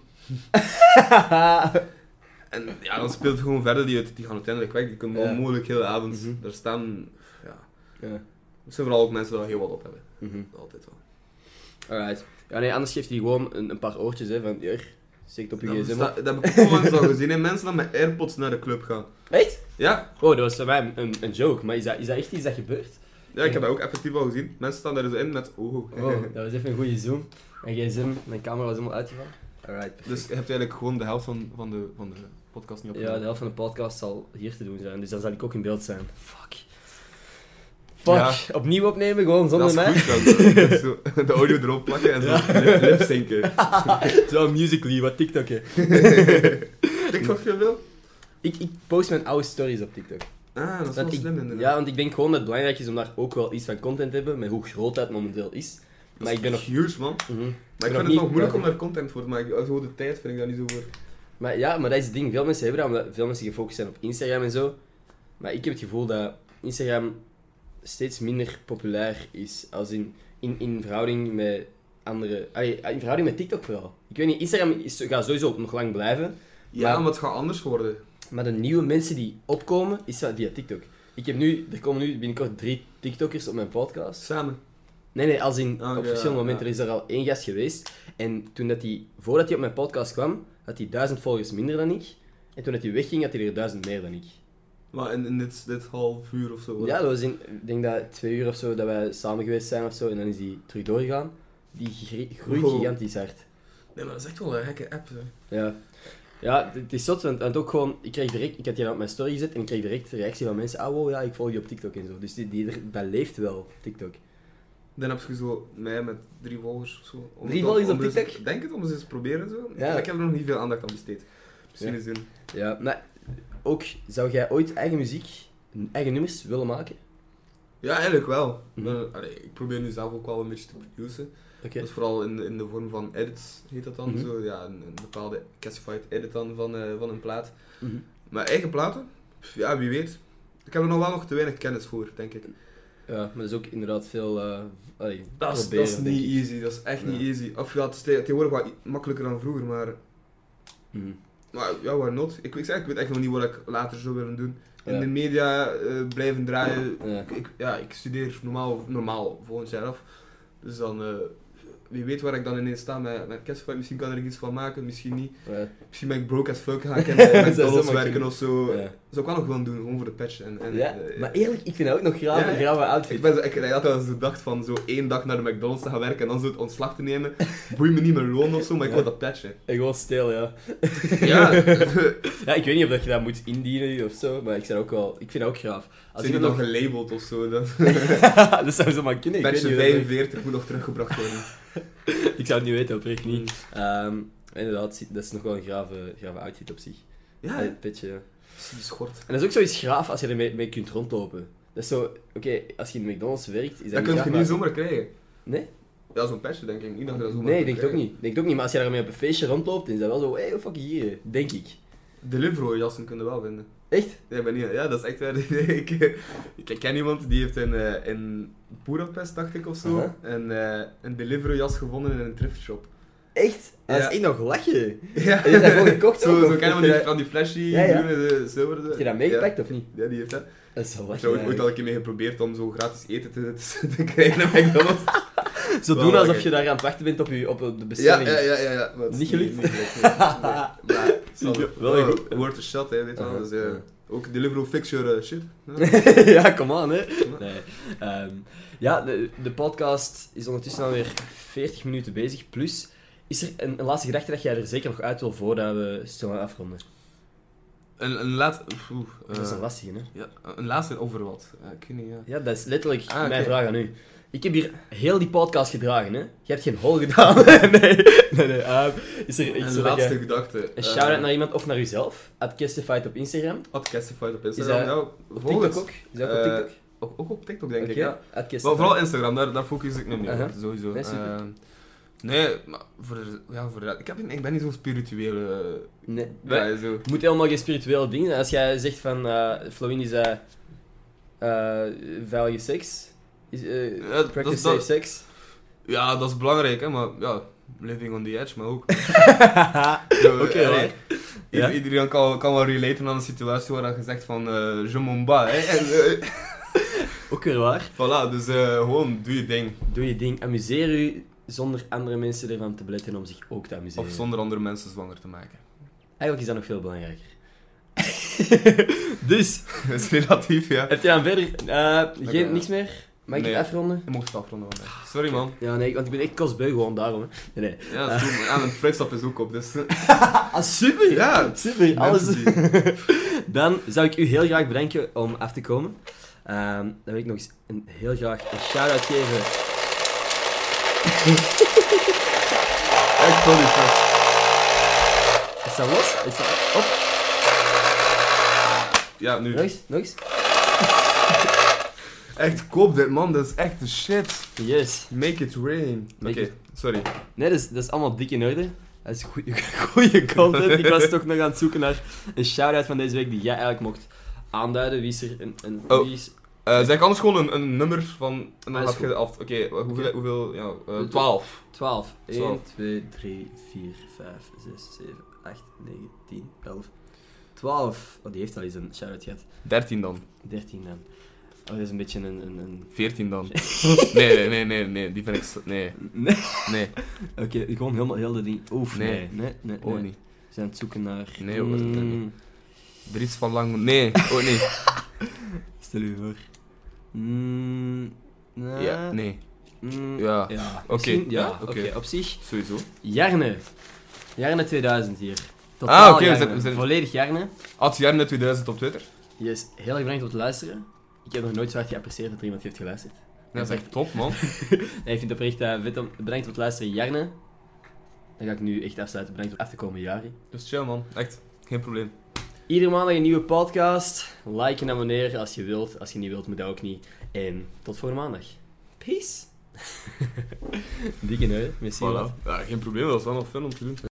En ja, dan speelt het gewoon verder. Die, die gaan uiteindelijk weg. Die kunnen
Ja.
onmogelijk heel de avond
Mhm.
daar staan. Ja.
Ja.
Er zijn vooral ook mensen die daar heel wat op hebben. Altijd wel.
Mhm. Alright. Ja, nee, anders geeft hij gewoon een, een paar oortjes, hè, van hier, steekt op je
Dat,
gsm.
besta-
op.
dat heb ik ook onlangs al gezien. hè. Mensen die met AirPods naar de club gaan.
Echt?
Ja,
Oh, dat was voor mij een, een joke, maar is dat, is dat echt iets dat gebeurt?
ja ik heb dat ook effectief al gezien. Mensen staan daar zo in met. Oh.
Oh, dat was even een goede zoom. Mijn gsm, mijn camera was helemaal uitgevallen. Alright. perfect.
Dus je hebt eigenlijk gewoon de helft van, van, de, van de podcast niet op.
Ja, de helft van de podcast zal hier te doen zijn, dus dan zal ik ook in beeld zijn. Fuck.
Ja.
Fuck. Opnieuw opnemen, gewoon zonder
dat
mij.
is goed, dat is zo. De audio erop plakken en zo lip- lipzinken.
Zo, Musical.ly, wat TikTok, hè.
TikTok je wil?
Ik, ik post mijn oude stories op TikTok.
Ah, dat is wel
Want ik-
slim inderdaad.
ja, want ik denk gewoon dat het belangrijk is om daar ook wel iets van content te hebben, met hoe groot dat momenteel is.
Dat
Maar
is
ik ben nog...
Huge, man.
Mhm.
Maar
nog
ik vind
niet-
het nog moeilijk om daar content voor te maken. Als gewoon de tijd vind ik daar niet zo voor.
Maar ja, maar dat is het ding. Veel mensen hebben dat, omdat veel mensen gefocust zijn op Instagram en zo. Maar ik heb het gevoel dat Instagram steeds minder populair is. Als in, in, in verhouding met andere... allee, in verhouding met TikTok vooral. Ik weet niet, Instagram is, gaat sowieso nog lang blijven.
Ja,
Maar-
maar het gaat anders worden.
Maar de nieuwe mensen die opkomen, is dat via TikTok. Ik heb nu, er komen nu binnenkort drie TikTokkers op mijn podcast.
Samen.
Nee, nee, als in
Ah,
op
ja,
verschillende momenten.
ja.
Er is er al één gast geweest. En toen dat hij, voordat hij op mijn podcast kwam, had hij duizend volgers minder dan ik. En toen dat hij wegging, had hij er duizend meer dan ik.
Maar in, in dit, dit half uur of zo. hè?
Ja, dat was in, ik denk dat twee uur of zo dat wij samen geweest zijn of zo, en dan is die terug doorgegaan. Die gr- groeit
Wow.
gigantisch hard.
Nee, maar dat is echt wel een gekke app. Hè.
Ja. Ja, het is zot, want, want ook gewoon, ik kreeg direct, ik had die op mijn story gezet en ik kreeg direct de reactie van mensen, ah wow, ja, ik volg je op TikTok en zo. Dus die, die, dat leeft wel, TikTok.
Dan heb je zo mij met drie volgers of zo. Om
Drie
het-
volgers
om
op
eens-
TikTok?
Denk het, om eens eens te proberen en zo.
Ja.
Maar Ik heb er nog niet veel aandacht aan besteed. Misschien
Ja.
eens doen.
Ja, maar ook, zou jij ooit eigen muziek, eigen nummers willen maken?
Ja, eigenlijk wel.
Mhm.
Maar, allee, ik probeer nu zelf ook wel een beetje te produceren.
Oké.
Dat is vooral in de, in de vorm van edits, heet dat dan.
Mhm.
zo, ja, een, een bepaalde classified edit dan van, eh, van een plaat.
Mhm.
Maar eigen platen? Pff, Ja, wie weet. Ik heb er nog wel nog te weinig kennis voor, denk ik.
Ja, maar dat is ook inderdaad veel. eh allee,
Dat is,
proberen,
dat is
denk
niet
ik.
easy, dat is echt niet
Ja.
easy. Of ja, het is te- tegenwoordig wat i- makkelijker dan vroeger, maar,
Mhm.
maar ja, why not? Ik, ik, zeg, ik weet echt nog niet wat ik later zou willen doen. In
Ja.
de media eh, blijven draaien.
Ja.
Ik, ik- ja, ik studeer normaal, normaal volgend jaar af. Dus dan, eh, wie weet waar ik dan ineens sta met, met Casper. Misschien kan er iets van maken, misschien niet.
Ja.
Misschien ben ik broke as fuck, ga ik in eh,
Zo, zo
McDonald's
makkelijk.
werken of zo.
Ja.
Zou ik wel nog gewoon doen, gewoon voor de patch. Oh, En, en,
Ja,
eh,
maar eerlijk, ik vind dat ook nog graag
Ja,
een
ja.
grauwe
Ik,
outfit.
ben zo, ik, ik had wel eens bedacht van zo één dag naar de McDonald's te gaan werken en dan zo het ontslag te nemen. Boeit me niet mijn loon of zo, maar ik wil dat patchen.
En gewoon stil, ja.
Ja,
ja, ik weet niet of dat je dat moet indienen of zo, maar ik, zou ook wel, ik vind dat ook graaf.
als
Als
je
iemand
nog
nog...
gelabeld of zo, dan
dat zou zo maar kunnen. Ik, weet
patchen
niet of dat-
45 moet nog teruggebracht worden. Hmm.
ik zou het niet weten, oprecht
Mhm.
niet. Ehm, inderdaad, dat is nog wel een grave, grave outfit op zich.
Ja,
Allee,
hè.
petje, ja.
dat is een schort.
En dat is ook zoiets graaf als je ermee mee kunt rondlopen. Dat is zo, oké, als je in de McDonald's werkt, is dat,
Dat
niet
kun
graaf,
je
maar-
niet zomaar krijgen.
Nee?
Ja, zo'n patch denk ik niet dat je dat zomaar
Nee, ik denk
kunt
het ook
krijgen.
niet. Ik Denk het ook niet, maar als je daarmee op een feestje rondloopt, dan is dat wel zo, hey, oh, fuck hier, denk ik.
Deliveroo jassen kunnen wel vinden.
Echt?
Nee, ben niet. Ja, dat is echt waar. ik, ik ken iemand die heeft in, eh, in Budapest, dacht ik of zo,
Aha.
een, eh een Deliveroo jas gevonden in een thrift shop.
Echt? Dat is
Ja.
echt nog lachen.
Ja.
En is dat gewoon gekocht ook,
Zo,
of
zo ken je
heeft
van die,
hij-
van die flashy,
Ja, ja.
groene, de, zilveren.
Heb je dat meegepakt eh, of niet?
Ja, die heeft dat.
Dat is wel
Ik
lachen.
heb ooit al een keer mee geprobeerd om zo gratis eten te, te- te krijgen op McDonald's.
eigenlijk. Zo
Wel
doen alsof
lachen.
je daar aan het wachten bent op, je, op de
Ja,
bestelling.
ja, ja, ja. ja, maar het is
Niet gelukt.
Niet, gelukt, nee. Nee. Maar, het zal-
Ja, wel een goed-
oh, worth a shot, hè, weet je wel.
Aha,
Dus, eh,
ja.
Ook Deliveroo fix your eh, shit. Ja.
ja, kom aan, hè. Nee. ehm, ja, de, de podcast is ondertussen alweer 40 minuten bezig. Plus, is er een, een laatste gedachte dat jij er zeker nog uit wil voordat we stil gaan afronden?
Een, een laat... oef, oef,
Dat is
eh,
een lastige, hè.
Ja, een laatste over wat? Ja, ik weet niet, ja.
Ja, dat is letterlijk
Ah, oké.
mijn vraag aan u. Ik heb hier heel die podcast gedragen, hè. Je hebt geen hol gedaan. nee, nee, nee. ehm, is er iets
Een
dat
laatste
jij-
gedachte. eh,
Een shout-out naar iemand of naar uzelf. At Kistified op Instagram.
Adcastified op
dat-
Instagram. Nou,
Op
volg
TikTok
het.
ook. Is dat ook op
Eh,
TikTok?
Ook, ook op TikTok, denk ik,
Oké,
ja.
at Kistified.
Maar vooral Instagram, daar, daar focus ik me nu op,
Aha.
sowieso.
Nee, Uh-huh. super.
Eh, nee, maar voor, de- ja, voor de, ik, heb, ik ben niet zo spiritueel. eh,
Nee.
guy, zo.
Het moet helemaal geen spirituele dingen zijn. Als jij zegt van, eh Florin is eh eh, value sex. Is, eh,
Ja, dat-
practice
dat-
safe sex.
Ja, dat is belangrijk, hè, maar ja, living on the edge, maar ook.
Oké,
Oké, ja,
right. Ja.
ieder- Iedereen kan, kan wel relaten aan een situatie waar je zegt van, eh je m'en bats, hè. En, eh,
Ook weer waar.
voilà, dus eh, gewoon doe je ding.
Doe je ding. Amuseer u zonder andere mensen ervan te beletten om zich ook te amuseren.
Of zonder andere mensen zwanger te maken.
Eigenlijk is dat nog veel belangrijker. dus,
dat is relatief, ja.
heb je dan verder eh,
Oké.
geen, niks meer? Mag ik
Nee.
het afronden?
Je mocht het afronden van mij. Sorry, man.
Ja, nee, want ik ben echt kostbeu gewoon daarom. Hè. Nee, nee.
Ja, dat is goed, maar- ja, mijn fruitstap is ook op, dus...
Ah, super!
Ja,
super. Alles.
mensen die-
Dan zou ik u heel graag bedanken om af te komen. Ehm, dan wil ik nog eens een, heel graag een shout-out geven.
Echt sorry, gast.
Is dat los? Is dat op?
Ja, nu.
Nog eens? Nog eens?
Echt, koop dit, man. Dat is echt de shit.
Yes.
Make it rain. Oké,
Make it-
sorry.
Nee, dat is, dat is allemaal dik in orde. Dat is goede content. Ik was toch nog aan het zoeken naar een shout-out van deze week die jij eigenlijk mocht aanduiden. Wie is er een... een
Oh.
wie is-
Eh zeg anders gewoon een, een nummer van... En
Ah,
dan
is
had je
goed.
de af... Oké, eh, hoeveel... hoeveel ja, eh,
Dus-
12.
12. 1,
Twaalf.
2, 3, 4, 5, 6, 7, 8, 9, 10, 11, 12. Oh, die heeft al eens een shout-out gehad.
13 dan.
13 dan. Oh, dat is een beetje een... een, een...
14 dan. nee, nee, nee, nee, nee. Die vind ik... s- Nee,
Nee.
nee.
Oké, gewoon helemaal heel de ding. Oef, nee.
Nee.
Nee, nee, nee.
Oh, niet.
We zijn aan het zoeken naar... Hmm.
Nee, hoor, dat is het niet. Dries van Langman. Nee, ook niet.
Stel u voor. Mm, nah,
Ja, nee.
mm,
Ja. Oké,
Misschien- Ja,
ja,
oké.
oké.
Op zich.
Sowieso.
Jarne. Jarne 2000 hier.
Ah, oké, we
Jarne.
zijn- we zijn-
Volledig Jarne.
Ad Jarne 2000 op Twitter.
Je is heel erg bedankt om te luisteren. Ik heb nog nooit zo hard geapprecieerd dat er iemand heeft geluisterd.
Dat is echt top, man.
Nee, ik vind het oprecht eh, vet om- bedankt om te luisteren, Jarne. Dan ga ik nu echt afsluiten. Bedankt voor af te komen, Jari.
Dus chill, man. Echt. Geen probleem.
Iedere maandag een nieuwe podcast. Like en abonneer als je wilt. Als je niet wilt, moet dat ook niet. En tot volgende maandag. Peace. Dikke neus. Merci.
Voilà. Ja, geen probleem. Dat is wel nog fun om te doen.